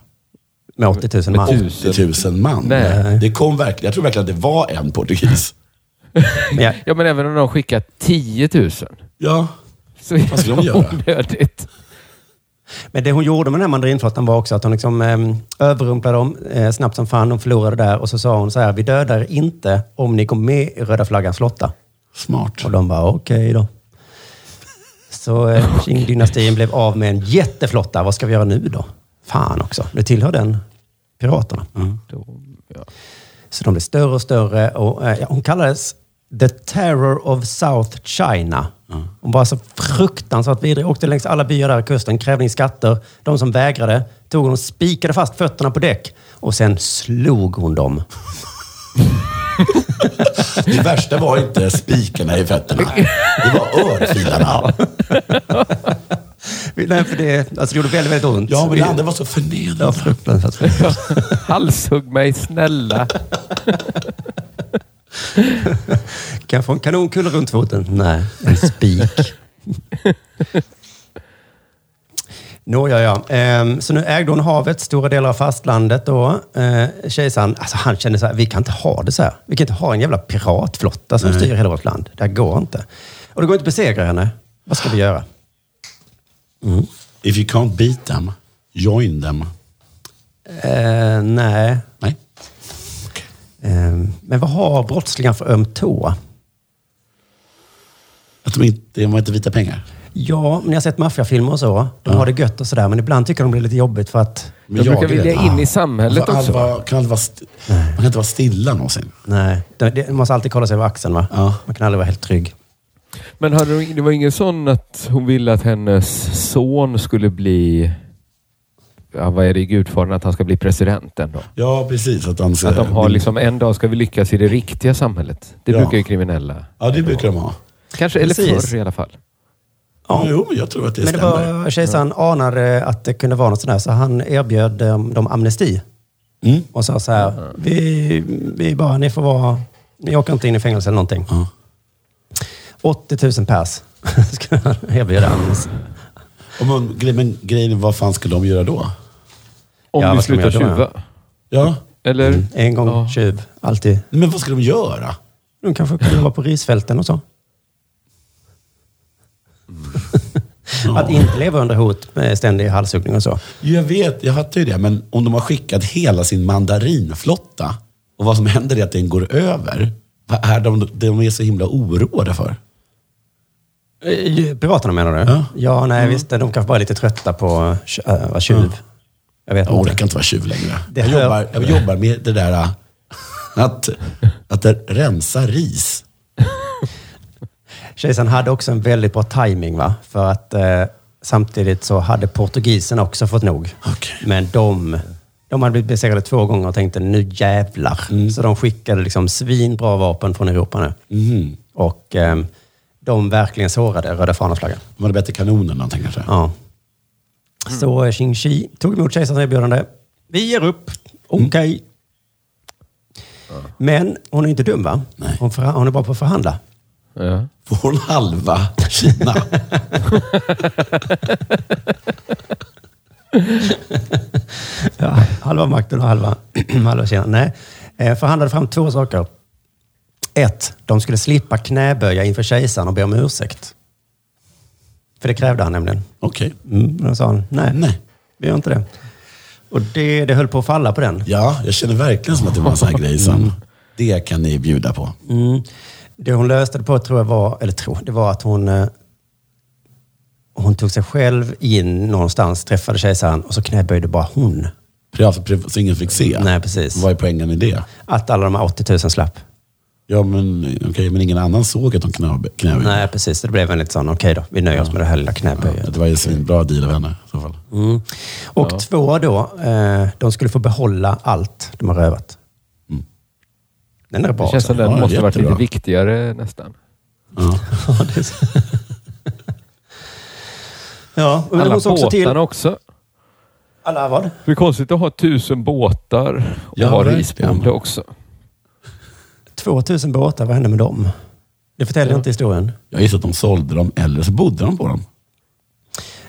Med 80 000
Med
man.
tusen.
80 000 man.
Nej.
Det kom verkligen, jag tror verkligen att det var en
*laughs*
portugis.
Men jag,
Ja, men även om de skickar 10 000
Ja,
så är
Vad ska de
det
göra?
onödigt.
Men det hon gjorde med den här mandarinflottan var också att hon liksom, eh, överrumplade dem eh, snabbt som fan. De förlorade där och så sa hon så här, vi dödar er inte om ni går med i röda flaggans flotta.
smart.
Och de bara, okej då. Så eh, Qing-dynastin blev av med en jätteflotta. Vad ska vi göra nu då? Fan också, det tillhör den piraterna.
Då, ja. *laughs*
Så de blev större och större. Och, eh, ja, hon kallades The Terror of South China. Hon var så fruktansvärt vidrig. Åkte längs alla byar där i kusten, krävde in skatter. De som vägrade tog hon och spikade fast fötterna på däck. Och sen slog hon dem.
Det värsta var inte spikarna i fötterna. Det var örfilarna.
*laughs*
*laughs*
Nej, för det, alltså, det gjorde väldigt, väldigt ont.
Ja, men det andra
var...
var så
Ja,
förnedrande.
fruktansvärt.
Halshugg mig snälla.
Kan jag få en kanonkula runt foten? Nej, en spik. *laughs* Nåja, ja. Ehm, Så nu ägde hon havet, stora delar av fastlandet då. Ehm, Kejsaren, alltså han kände så här, vi kan inte ha det så här. Vi kan inte ha en jävla piratflotta som styr hela vårt land. Det här går inte. Och det går inte att besegra henne. Vad ska vi göra?
If you can't beat them, join them.
Ehm, nej.
Nej.
Ehm, men vad har brottslingar för öm tå?
Att de inte, de var inte vita pengar.
Ja, men jag har sett maffiafilmer och så. De har det gött och sådär, men ibland tycker de det är lite jobbigt för att...
Men
De brukar
jag, du vet,
vilja in i
man
samhället
får aldrig
också.
vara- kan aldrig vara st- man kan inte vara stilla någonsin.
Nej, det, det, man måste alltid kolla sig över axeln va?
Ja.
Man kan aldrig vara helt trygg.
Men hade hon, det var ingen sån att hon ville att hennes son skulle bli... Ja, vad är det i Gudfadern? Att han ska bli president ändå?
Ja, precis. Att, de,
Att de har liksom, en dag ska vi lyckas i det riktiga samhället. Det
Ja.
brukar ju kriminella.
Ja, det brukar de ha.
Kanske, eller
Precis.
förr i alla fall.
Ja. Jo, jag tror att det
Men det
stämmer.
var, kejsaren anade att det kunde vara något sånt där, så han erbjöd eh, dem amnesti.
Mm.
Och sa så här, vi, vi bara, ni får vara, ni åker inte in i fängelse eller någonting.
Ja.
80 000 pers *laughs* skulle han erbjuda amnesti.
Och man, gre- men grejen är, vad fan skulle de göra då?
Om
Ja,
vi
vad ska man
slutar
göra då? Mm.
tjuva.
Ja,
Eller?
En gång
Ja.
tjuv, alltid.
men vad skulle de göra?
De kanske kunde vara på risfälten och så. Att inte leva under hot med ständig halshuggning och så.
Jag vet, jag fattar ju det. Men om de har skickat hela sin mandarinflotta och vad som händer är att den går över. Vad är de, de är så himla oroade för?
Eh, Piraterna menar du?
Ja. Mm.
Ja, nej visst. De kanske bara är lite trötta på tj- äh, vara tjuv. Jag vet
Jag
inte.
orkar inte vara tjuv längre.
Det
jag,
hör-
jobbar, jag jobbar med det där äh, att, att rensa ris.
Kejsaren hade också en väldigt bra timing va? För att eh, samtidigt så hade portugiserna också fått nog.
Okej.
Men de, de hade blivit besegrade två gånger och tänkte nu jävlar.
Mm.
Så de skickade liksom svinbra vapen från Europa nu.
Mm.
Och ehm, de verkligen sårade röda fanans flagga.
De hade bättre kanoner än någonting kanske.
Ja.
Mm.
Så eh, Qing Shi tog emot kejsarens erbjudande. Vi ger upp. Okej.
Mm.
Men hon är inte dum va?
Nej.
Hon, förha- hon är bra på att förhandla.
Ja.
Får hon halva
*laughs*
Kina?
Ja, halva makten och halva, *clears throat* halva Kina. Nej. Eh, förhandlade fram två saker. Ett, de skulle slippa knäböja inför kejsaren och be om ursäkt. För det krävde han nämligen.
Okej.
Mm, och då sa han, nej,
Nej.
vi gör inte det. Och det, det höll på att falla på den.
Ja, jag känner verkligen som att det var en sån här grej som, det kan ni bjuda på.
Mm. Det hon löste det på tror jag var, eller tror, det var att hon, eh, hon tog sig själv in någonstans, träffade kejsaren och så knäböjde bara hon.
Privat- privat- alltså Så ingen fick se.
Nej, precis.
Vad är poängen i det?
Att alla de här 80 000 slapp.
Ja, men okej, men ingen annan såg att de knöb, knöb.
Nej, precis. Det blev en lite sån, okej då, vi nöjer oss med det här lilla knäböjet.
Ja, det var ju en svinbra deal av henne i så fall.
Mm. Och två då, eh, de skulle få behålla allt de har rövat. Den är bra.
Mm. Det känns som
alltså.
den
Ja,
måste varit lite
jättebra.
viktigare nästan.
Ja.
Ja, det är så. ja, men
Alla
hon såg också till...
båtarna också.
Alla vad?
Det är konstigt att ha tusen båtar och
Ja,
vara
verkligen.
risbonde också.
2000 båtar, vad hände med dem? Det förtäljer inte historien.
Jag gissar att de sålde dem, eller så bodde de på dem.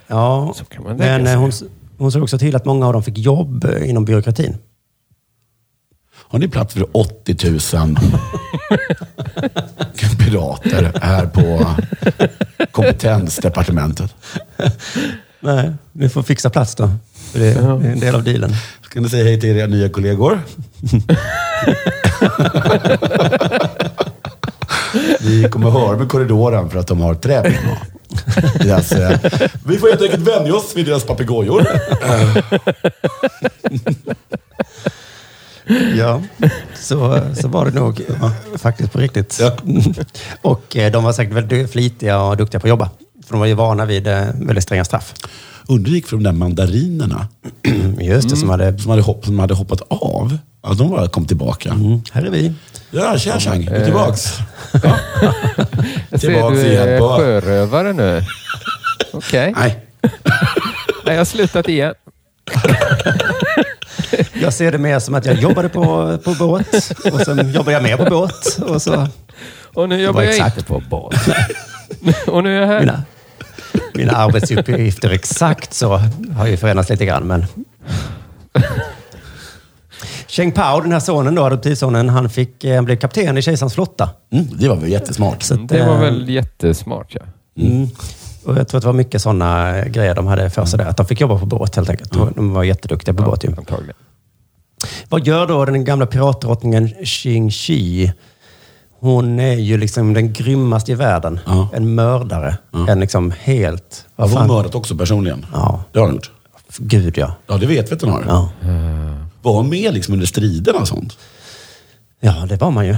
Ja,
Så kan man tänka
men eh,
sig.
hon, hon såg också till att många av dem fick jobb eh, inom byråkratin.
Har ni plats för 80
*laughs*
000 pirater här på kompetensdepartementet?
Nej, vi får fixa plats då. För det, det är en del av dealen.
Ska ni säga hej till era nya kollegor? Ni kommer höra med korridoren för att de har träpinnar. Deras, eh, vi får helt enkelt vänja oss vid deras papegojor.
Ja, *laughs* så, så var det nog eh, faktiskt på riktigt.
Ja.
*laughs* Och eh, de var säkert väldigt flitiga och duktiga på att jobba. För de var ju vana vid eh, väldigt stränga straff.
*clears throat*
Undrar hur det gick för de där mandarinerna
Just
Mm.
det, som hade...
som hade, hopp, som hade hoppat av. Ja, de bara kom tillbaka.
Mm, Här är vi.
Ja, tja tjang, gå tillbaks.
Jag ser
Tillbaks
du
igen
är
på-
sjörövare nu. Okej.
Nej,
Nej, jag har slutat igen.
Jag ser det mer som att jag jobbade på, på båt och sen jobbade jag mer på båt. Och så
Och nu jobbar jag
exakt.
inte på båt. *laughs* Och nu är jag här.
mina, mina arbetsuppgifter exakt så har ju förändrats lite grann, men... Cheng Pao, den här sonen då, adoptivsonen, han, fick, eh, han blev kapten i kejsarens flotta.
mm, det var väl jättesmart.
Så att,
Mm, Det
eh,
var väl jättesmart ja.
Mm. Och jag tror att det var mycket sådana grejer de hade
Mm.
för sig där. Att de fick jobba på båt helt enkelt. De var jätteduktiga på båt ju.
Antagligen.
Vad gör då den gamla piratdrottningen Xing Shi? Hon är ju liksom den grymmaste i världen.
Ja.
En mördare. En liksom helt...
Har
Vad
hon
fan?
mördat också personligen?
Ja.
Det har hon gjort.
Gud ja.
Ja, det vet vi att hon har.
ja.
Var hon med liksom under striderna och sånt?
Ja, det var man ju.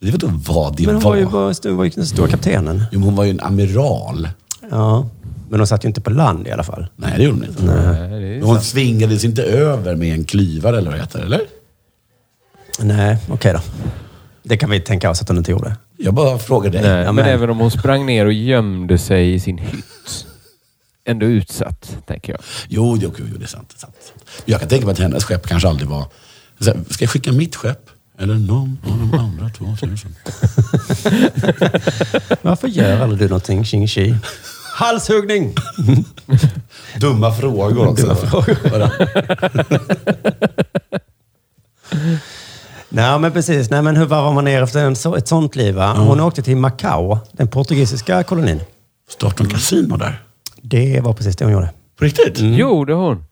Det vet inte vad det
Men hon
var.
var ju, bara, st- var ju den stora kaptenen.
Jo, men hon var ju en amiral.
Ja. Men hon satt ju inte på land i alla fall.
Nej, det gjorde hon inte.
Nej, det är
Men hon svingades inte över med en klyvare eller vad det heter, eller?
Nej, okej då. Det kan vi tänka oss att hon inte gjorde.
Jag bara frågar dig.
Nej, men
men-
även om hon sprang ner och gömde sig i sin hytt. Ändå utsatt, tänker jag.
Jo, jo, jo, jo, det är sant. Det är sant, det är sant. Jag kan tänka mig att hennes skepp kanske aldrig var... Så här, Ska jag skicka mitt skepp? Eller någon av de andra 2000?
Varför gör aldrig du någonting, Xing Shi? Halshuggning!
Dumma frågor också.
Dumma frågor.
Bara,
Nej, men precis. Nej, men hur varvar man ner efter en så, ett sånt liv? Va? Hon åkte till Macau, den portugisiska kolonin.
Starta en kasino där.
Det var precis det hon gjorde.
På riktigt?
Gjorde hon?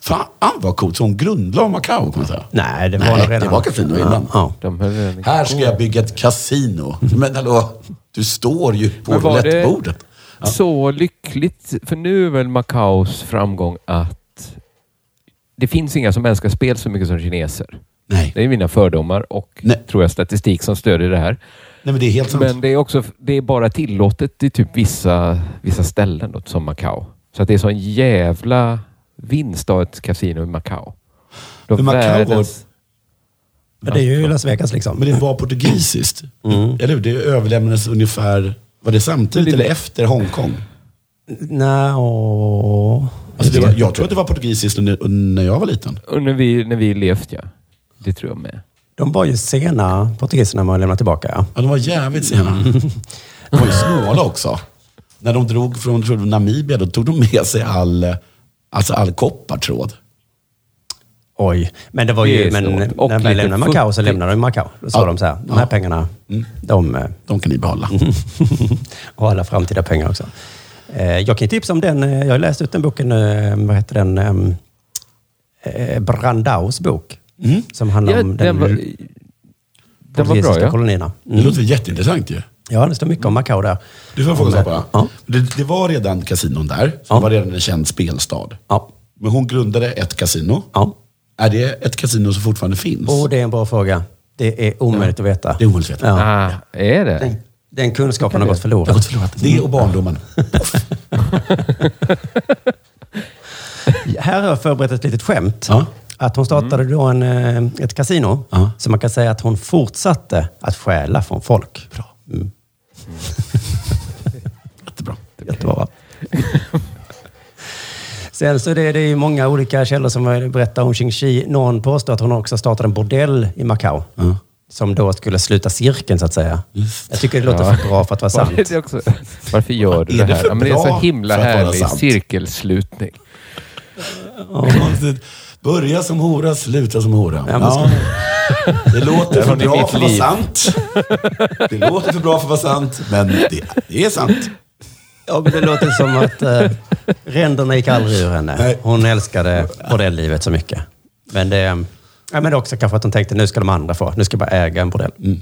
Fan vad coolt. Så hon grundlade Macao kan man säga.
Nej, det var
Nej,
nog redan...
det var kasino innan.
Ja, ja.
De höll
Här ska jag bygga ett kasino. Men hallå, du står ju på
Men var det-
roulettebordet.
Så lyckligt. För nu är väl Macaos framgång att det finns inga som älskar spel så mycket som kineser.
Nej.
Det är mina fördomar och,
Nej.
tror jag, statistik som stödjer det här.
Nej, men det är helt sant.
Men det är, också, det är bara tillåtet i typ vissa, vissa ställen då, som Macao. Så att det är sån jävla vinst av ett kasino i Macao. De
Men Macao var-
världens-
Men det är ju Las Vegas liksom.
Men det var portugisiskt.
Mm.
Eller hur? Det överlämnades ungefär... Var det samtidigt eller efter Hongkong?
Nej, åh.
Alltså det var,
Mm.
jag tror att det var portugisiskt under, när jag var liten.
Och när vi, när vi levt, ja. Det tror jag med.
De var ju sena, portugiserna, med att lämna tillbaka. Ja.
Ja, de var jävligt sena.
Mm.
*laughs* De var ju snåla också. När de drog från jag tror det var Namibia, då tog de med sig all, eh, alltså all koppartråd.
Oj, men det var
Det
ju...
är
Men
snålt. Och
när man
lite
lämnade Macau så
futtigt.
lämnade de Macau. Då sa
Ja.
de så här, de här
Ja.
pengarna, de... eh,
De kan ni behålla.
*laughs* och alla framtida pengar också. Eh, jag kan tipsa om den. eh, Jag har läst ut den boken nu. eh, Vad heter den? Ehm, Eh, Brandaus bok. Som handlar
Ja,
om
den
den,
var,
den
den var bra, ja.
kolonierna.
Det låter jätteintressant ju.
Ja, det står mycket om Macau där.
Du får fråga en sak bara.
Ja.
Det, det var redan kasinon där. så
Ja.
Det var redan en känd spelstad.
Ja.
Men hon grundade ett kasino.
ja.
Är det ett kasino som fortfarande finns?
Och det är en bra fråga. Det är omöjligt att veta.
Det är omöjligt att veta.
Ja.
Ah, är det?
Den, den kunskapen har gått
Jag har
förlorad.
gått förlorat. Det och
*laughs*
barndomen.
Här har jag förberett ett litet skämt.
Ja.
Att hon startade då en, eh, ett kasino.
Ja.
Så man kan säga att hon fortsatte att stjäla från folk. Bra. *laughs* Mm.
Jättebra.
Jättebra. va? *laughs* Sen så är det, det är ju många olika källor som berättar om Xing Shi. Någon påstår att hon också startade en bordell i Macau. Som då skulle sluta cirkeln så att säga.
Just.
Jag tycker det låter
Ja.
för bra för att vara
*laughs*
sant.
Varför, det också, varför gör du
Är
det
det
här?
för
Ja, men det är en
bra
så himla
för att vara
härlig
sant?
cirkelslutning.
Börja som hora, sluta som hora.
Ja,
Ja,
men
Det låter för
Från i
bra
mitt
för att vara
liv.
sant. Det låter för bra för att vara sant, men det, det är sant.
Ja, men det låter som att eh, ränderna gick aldrig ur henne.
Nej.
Hon älskade bordelllivet så mycket. Men det, ja, men det är också kanske att hon tänkte nu ska de andra få. Nu ska jag bara äga en bordell.
Mm.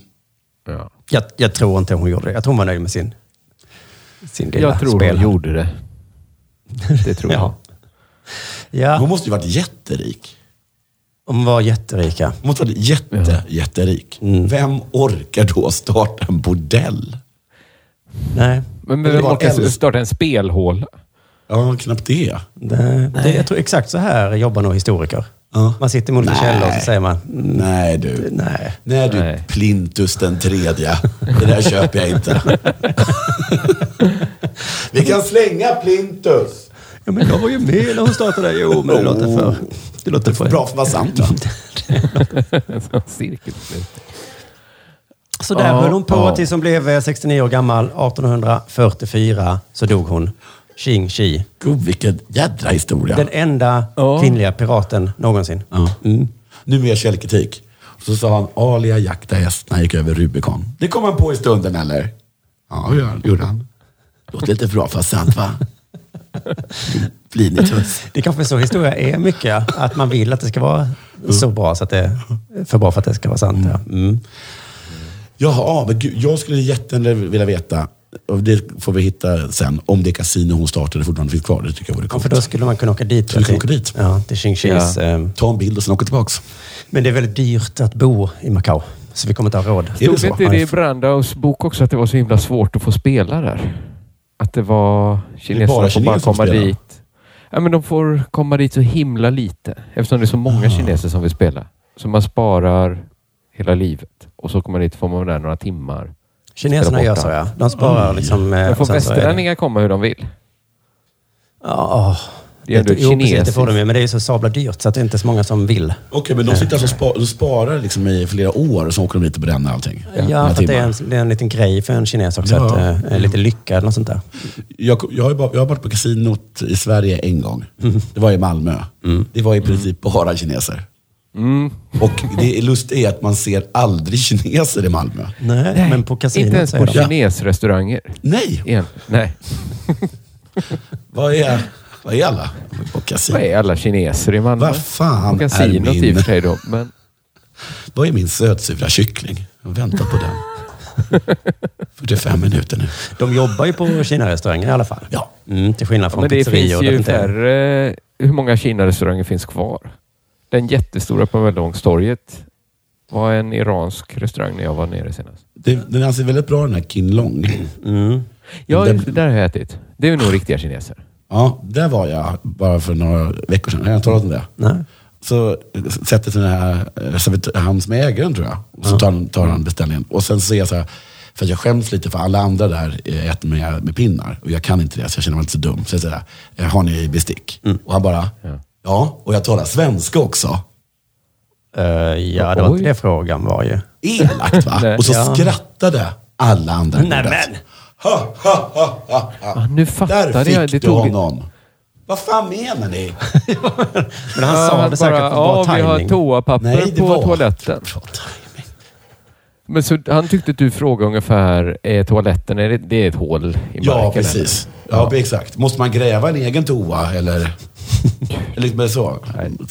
Ja.
Jag, jag tror inte hon gjorde det. Jag tror hon var nöjd med sin, sin lilla
Jag tror
spelhand.
hon gjorde det.
*laughs*
Det tror jag.
Ja. Ja,
Hon måste ju varit jätterik.
hon var jätterika.
Hon måste varit jätte, jätterik.
Mm.
Vem orkar då starta en bordell?
Nej.
Men,
Eller
men man kan
äldst.
starta en spelhåla.
Ja, knappt det.
Det, det, jag tror exakt så här jobbar nog historiker.
Ja.
Man sitter med olika
Nej.
källor och så säger man mm,
Nej du.
nej.
Nej du,
Nej.
Plintus den tredje. Det där köper jag inte. Vi kan slänga Plintus. Oh.
Ja, men jag var ju med när hon startade. Jo, men det låter för... Det låter för Mm.
Bra för att vara sant va?
En *laughs* sån cirkelslutning.
Så där
Ja,
höll hon på
ja.
tills hon blev eh, 69 år gammal. 1844 så dog hon. Xing Shi.
Gud, vilken jädra historia.
Den enda
Ja.
kvinnliga piraten någonsin.
Ja.
Mm.
Nu mer källkritik. Så sa han, Alia jakta häst när han gick över Rubicon. Det kom han på i stunden eller? Ja, hur gör han? gjorde han. Låter lite bra för sant
*laughs*
va? Blir ni tuss?
Det är kanske så historia är mycket. Att man vill att det ska vara så bra så att det för bra för att det ska vara sant. Ja. Mm.
Jaha, ah, men gud, jag skulle jättegärna vilja veta, och det får vi hitta sen, om det kasino hon startade fortfarande finns kvar. Det tycker jag vore
Ja,
coolt.
för då skulle man kunna åka dit.
Skulle kunna åka dit.
Ja, till Xing Shis.
Ja.
ehm,
Ta en bild och sen åka tillbaks.
Men det är väldigt dyrt att bo i Macau. Så vi kommer inte ha råd.
Är det
Stod
så?
inte det i Brandaus bok också att det var så himla svårt att få spela där? Att det var kineserna
bara
får bara
kineser som
komma
spelar.
dit. Ja, men de får komma dit så himla lite eftersom det är så många kineser som vill spela. Så man sparar hela livet och så kommer man dit får man vara där några timmar.
Kineserna
Spela
gör
borta.
så ja. De sparar liksom... eh,
Men
och
får
sen så är det-
västerlänningar komma hur de vill?
Ja.
Det är ändå
jo, precis, det
kinesiskt.
får de ju. Men det är ju så sabla dyrt så att det är inte så många som vill.
Okej, men de sitter alltså och spa, de sparar liksom i flera år och så åker de dit och bränner allting.
Ja,
Några
för att det är,
timmar.
en, det är en liten grej för en kines också.
Ja.
Att, eh, är lite lyckad eller sånt där.
Jag, jag, har ju bara, jag har varit på kasinot i Sverige en gång. Det var i Malmö. Det var i princip bara kineser. Mm. Och det är lust är att man ser aldrig kineser i Malmö.
Nej, men på
Inte
kasinot
ens
säger
på
de.
kinesrestauranger.
Nej,
Igen. Nej.
vad är, vad är alla? På kasino.
Vad är alla kineser i Malmö?
Vad fan
Och kasinot
är min-
i och för sig då. Men
Vad är min sötsura kyckling? Jag väntar på den. 45 minuter nu.
De jobbar ju på Kina-restauranger i alla fall.
Ja.
Mm, till skillnad
Ja,
från
men det
pizzerior.
finns
där
ju
inte är-
färre... Hur många Kina-restauranger finns kvar? Den jättestora på Möllevångstorget var en iransk restaurang när jag var nere senast.
Det, den anses väldigt bra den här Kin Long.
Ja,
Den-
just det där har jag ätit. Det är ju nog riktiga kineser.
Ja, där var jag bara för några veckor sedan. Har jag talat om det?
Nej.
Så sätter sig den här, eh, servitö- han som är ägaren tror jag. Och så tar, han- tar han beställningen. Och sen så är jag så här, för att jag skäms lite för alla andra där eh, äter med, med pinnar. Och jag kan inte det, så jag känner mig lite dum. Så jag säger, eh, har ni bestick? Och han bara, ja. och jag talar svenska också.
Eh, ja, det var
Oj.
inte det frågan var ju.
Elakt va?
Nej.
och så
Ja.
skrattade alla andra. i
Nej,
bordet.
men.
Ha, ha, ha, ha, ha.
Ah, nu
Där
fattade
fick
jag. Det
du
tog...
honom. Vad fan menar ni?
Men han
Ja,
sa det säkert
bara,
på bra
Ja, vi har
timing.
toapapper
Nej, det
på
var...
toaletten.
Bra timing.
Men så, han tyckte att du frågade ungefär, är toaletten är det, det är ett hål i marken?
Ja,
eller?
precis. Ja, exakt. Måste man gräva en egen toa eller... eller liksom så.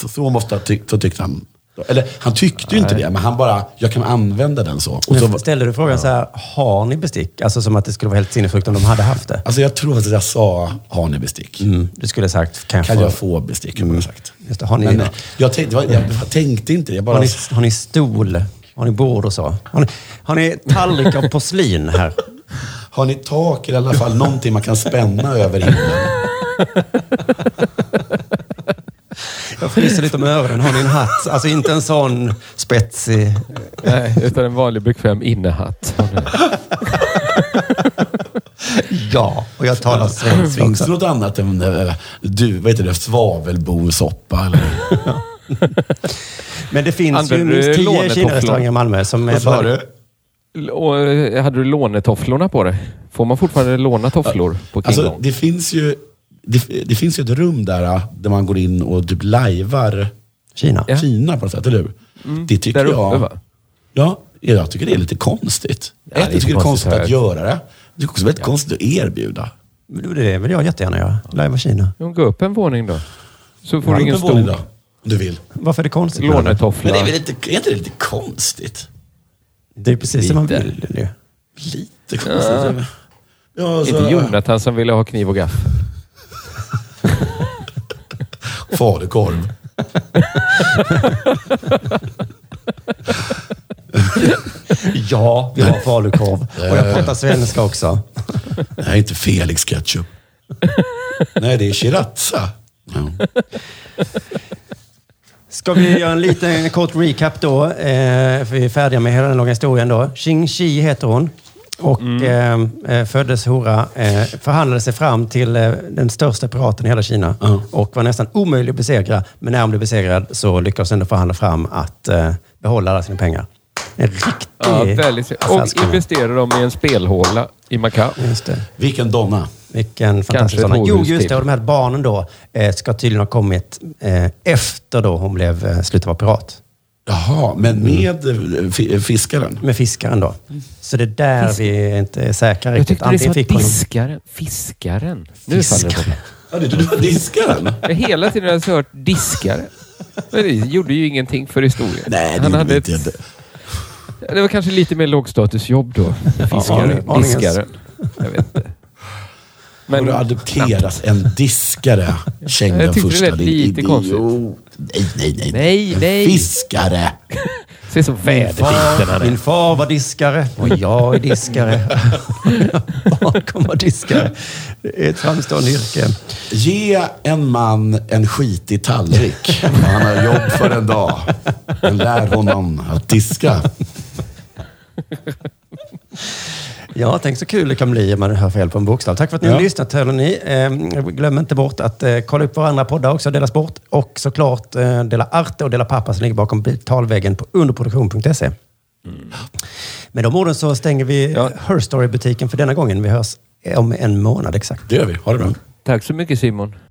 så. Så måste jag ty- så tyckte han. Eller han tyckte ju inte det, men han bara, jag kan använda den så. Och så
Men ställde du frågan så här, har ni bestick? Alltså som att det skulle vara helt sinnessjukt om de hade haft det.
alltså jag tror att jag sa, har ni bestick?
Mm, du skulle ha sagt, kan jag,
Kan
få-
jag få bestick? Mm. Sagt.
Just det, har ni-
men, eh, jag, tänkte, jag, jag tänkte inte det. Jag bara,
Har ni, har ni stol? Har ni bord och så? Har ni, har ni tallrik av porslin här?
Har ni tak eller i alla *laughs* fall någonting man kan spänna över himlen?
Jag fryser lite om öronen. Har ni en hatt? Alltså inte en sån spetsig...
Nej, utan en vanlig bekväm innehatt.
Ja, och jag talar svenska
Finns det
också.
något annat än eh, du, vad heter det, svavelbosoppa? Eller?
Men det finns
Använder
ju
du
minst tio
lånetofflor?
Kina-restauranger i Malmö som är...
Vad sa du?
Och, eh, hade du lånetofflorna på dig? Får man fortfarande låna tofflor på King
Alltså,
Kong?
det finns ju det, det finns ju ett rum där ah, där man går in och typ lajvar
Kina.
Ja. Mm.
Kina på något sätt, eller hur? det tycker
Där uppe
jag...
va?
Ja, jag tycker det är lite konstigt.
det är
Ett, jag tycker det är
konstigt
konstigt att
här.
göra det. Jag tycker också det är väldigt konstigt att erbjuda.
Men Det vill jag jättegärna göra. Lajva Kina.
Ja, Gå upp en våning då. Så får
Har
du
du
ingen
en våning då?
stor
Om du vill.
Varför är det konstigt? med det?
Men
lånetoffla.
det är, väl lite, är inte det lite konstigt?
Det är precis som man
Lite.
vill ju.
Lite konstigt. Ja. Ja, alltså-
Inte
så,
Jonathan som ville ha kniv och gaffel.
falukorv.
Ja, vi har falukorv. *laughs* Och jag pratar svenska också.
Nej, inte Felix ketchup. Nej, det är Shirazza. Ja.
Ska vi göra en liten en kort recap då? Eh, för vi är färdiga med hela den långa historien då. Xing Shi heter hon. Och eh, eh, föddes hora. Eh, förhandlade sig fram till eh, den största piraten i hela Kina. Och var nästan omöjlig att besegra. Men när hon blev besegrad så lyckades hon ändå förhandla fram att eh, behålla alla sina pengar. En riktig
Ja, väldigt Och
affärskvinna.
investerar dem i en spelhåla i
Mm,
Macao.
Just det. Vilken,
Vilken donna.
fantastisk
ett
sådana. Jo,
horhus
just
till.
det. Och de här barnen då eh, ska tydligen ha kommit eh, efter då hon blev eh, slutade vara pirat.
Jaha, men
Mm.
med eh, fi- fiskaren?
med fiskaren då. Så det är där vi inte är säkra
Jag
riktigt.
tyckte det sa
Antingen fick hon...
diskaren. Fiskaren. Nu faller det på mig.
Ja, det du var diskaren?
Jag har hela tiden har jag hört diskare. Men det gjorde ju ingenting för historien.
Nej, det
Han
gjorde
hade
vi
ett,
inte.
det var kanske lite mer lågstatusjobb då. Fiskaren.
aning- aningens.
diskaren. Jag vet inte.
Men, och adopteras en diskare, Cheng
Jag
den
tyckte det
första.
lät lite
är-
konstigt.
jo, Nej, nej, nej.
Nej,
En
nej.
Fiskare.
Se så väderbiten han
Min
är.
far var diskare och jag är diskare.
*laughs*
*laughs* Barn kommer vara diskare. Det är ett framstående yrke.
Ge en man en skitig *laughs* tallrik. Han har jobb för en dag. Men lär honom att diska.
Ja, tänk så kul det kan bli om man hör fel på en bokstav. Tack för att ni har
Ja.
lyssnat, hörde ni. Eh, Glöm inte bort att eh, kolla upp våra andra poddar också, Dela Sport. Och såklart eh, Dela Arte och Dela Pappa som ligger bakom betalväggen på underproduktion.se. Med de orden så stänger vi
Ja.
Her Story-butiken för denna gången. Vi hörs om en månad exakt.
Det gör vi. Ha det bra.
Tack så mycket Simon.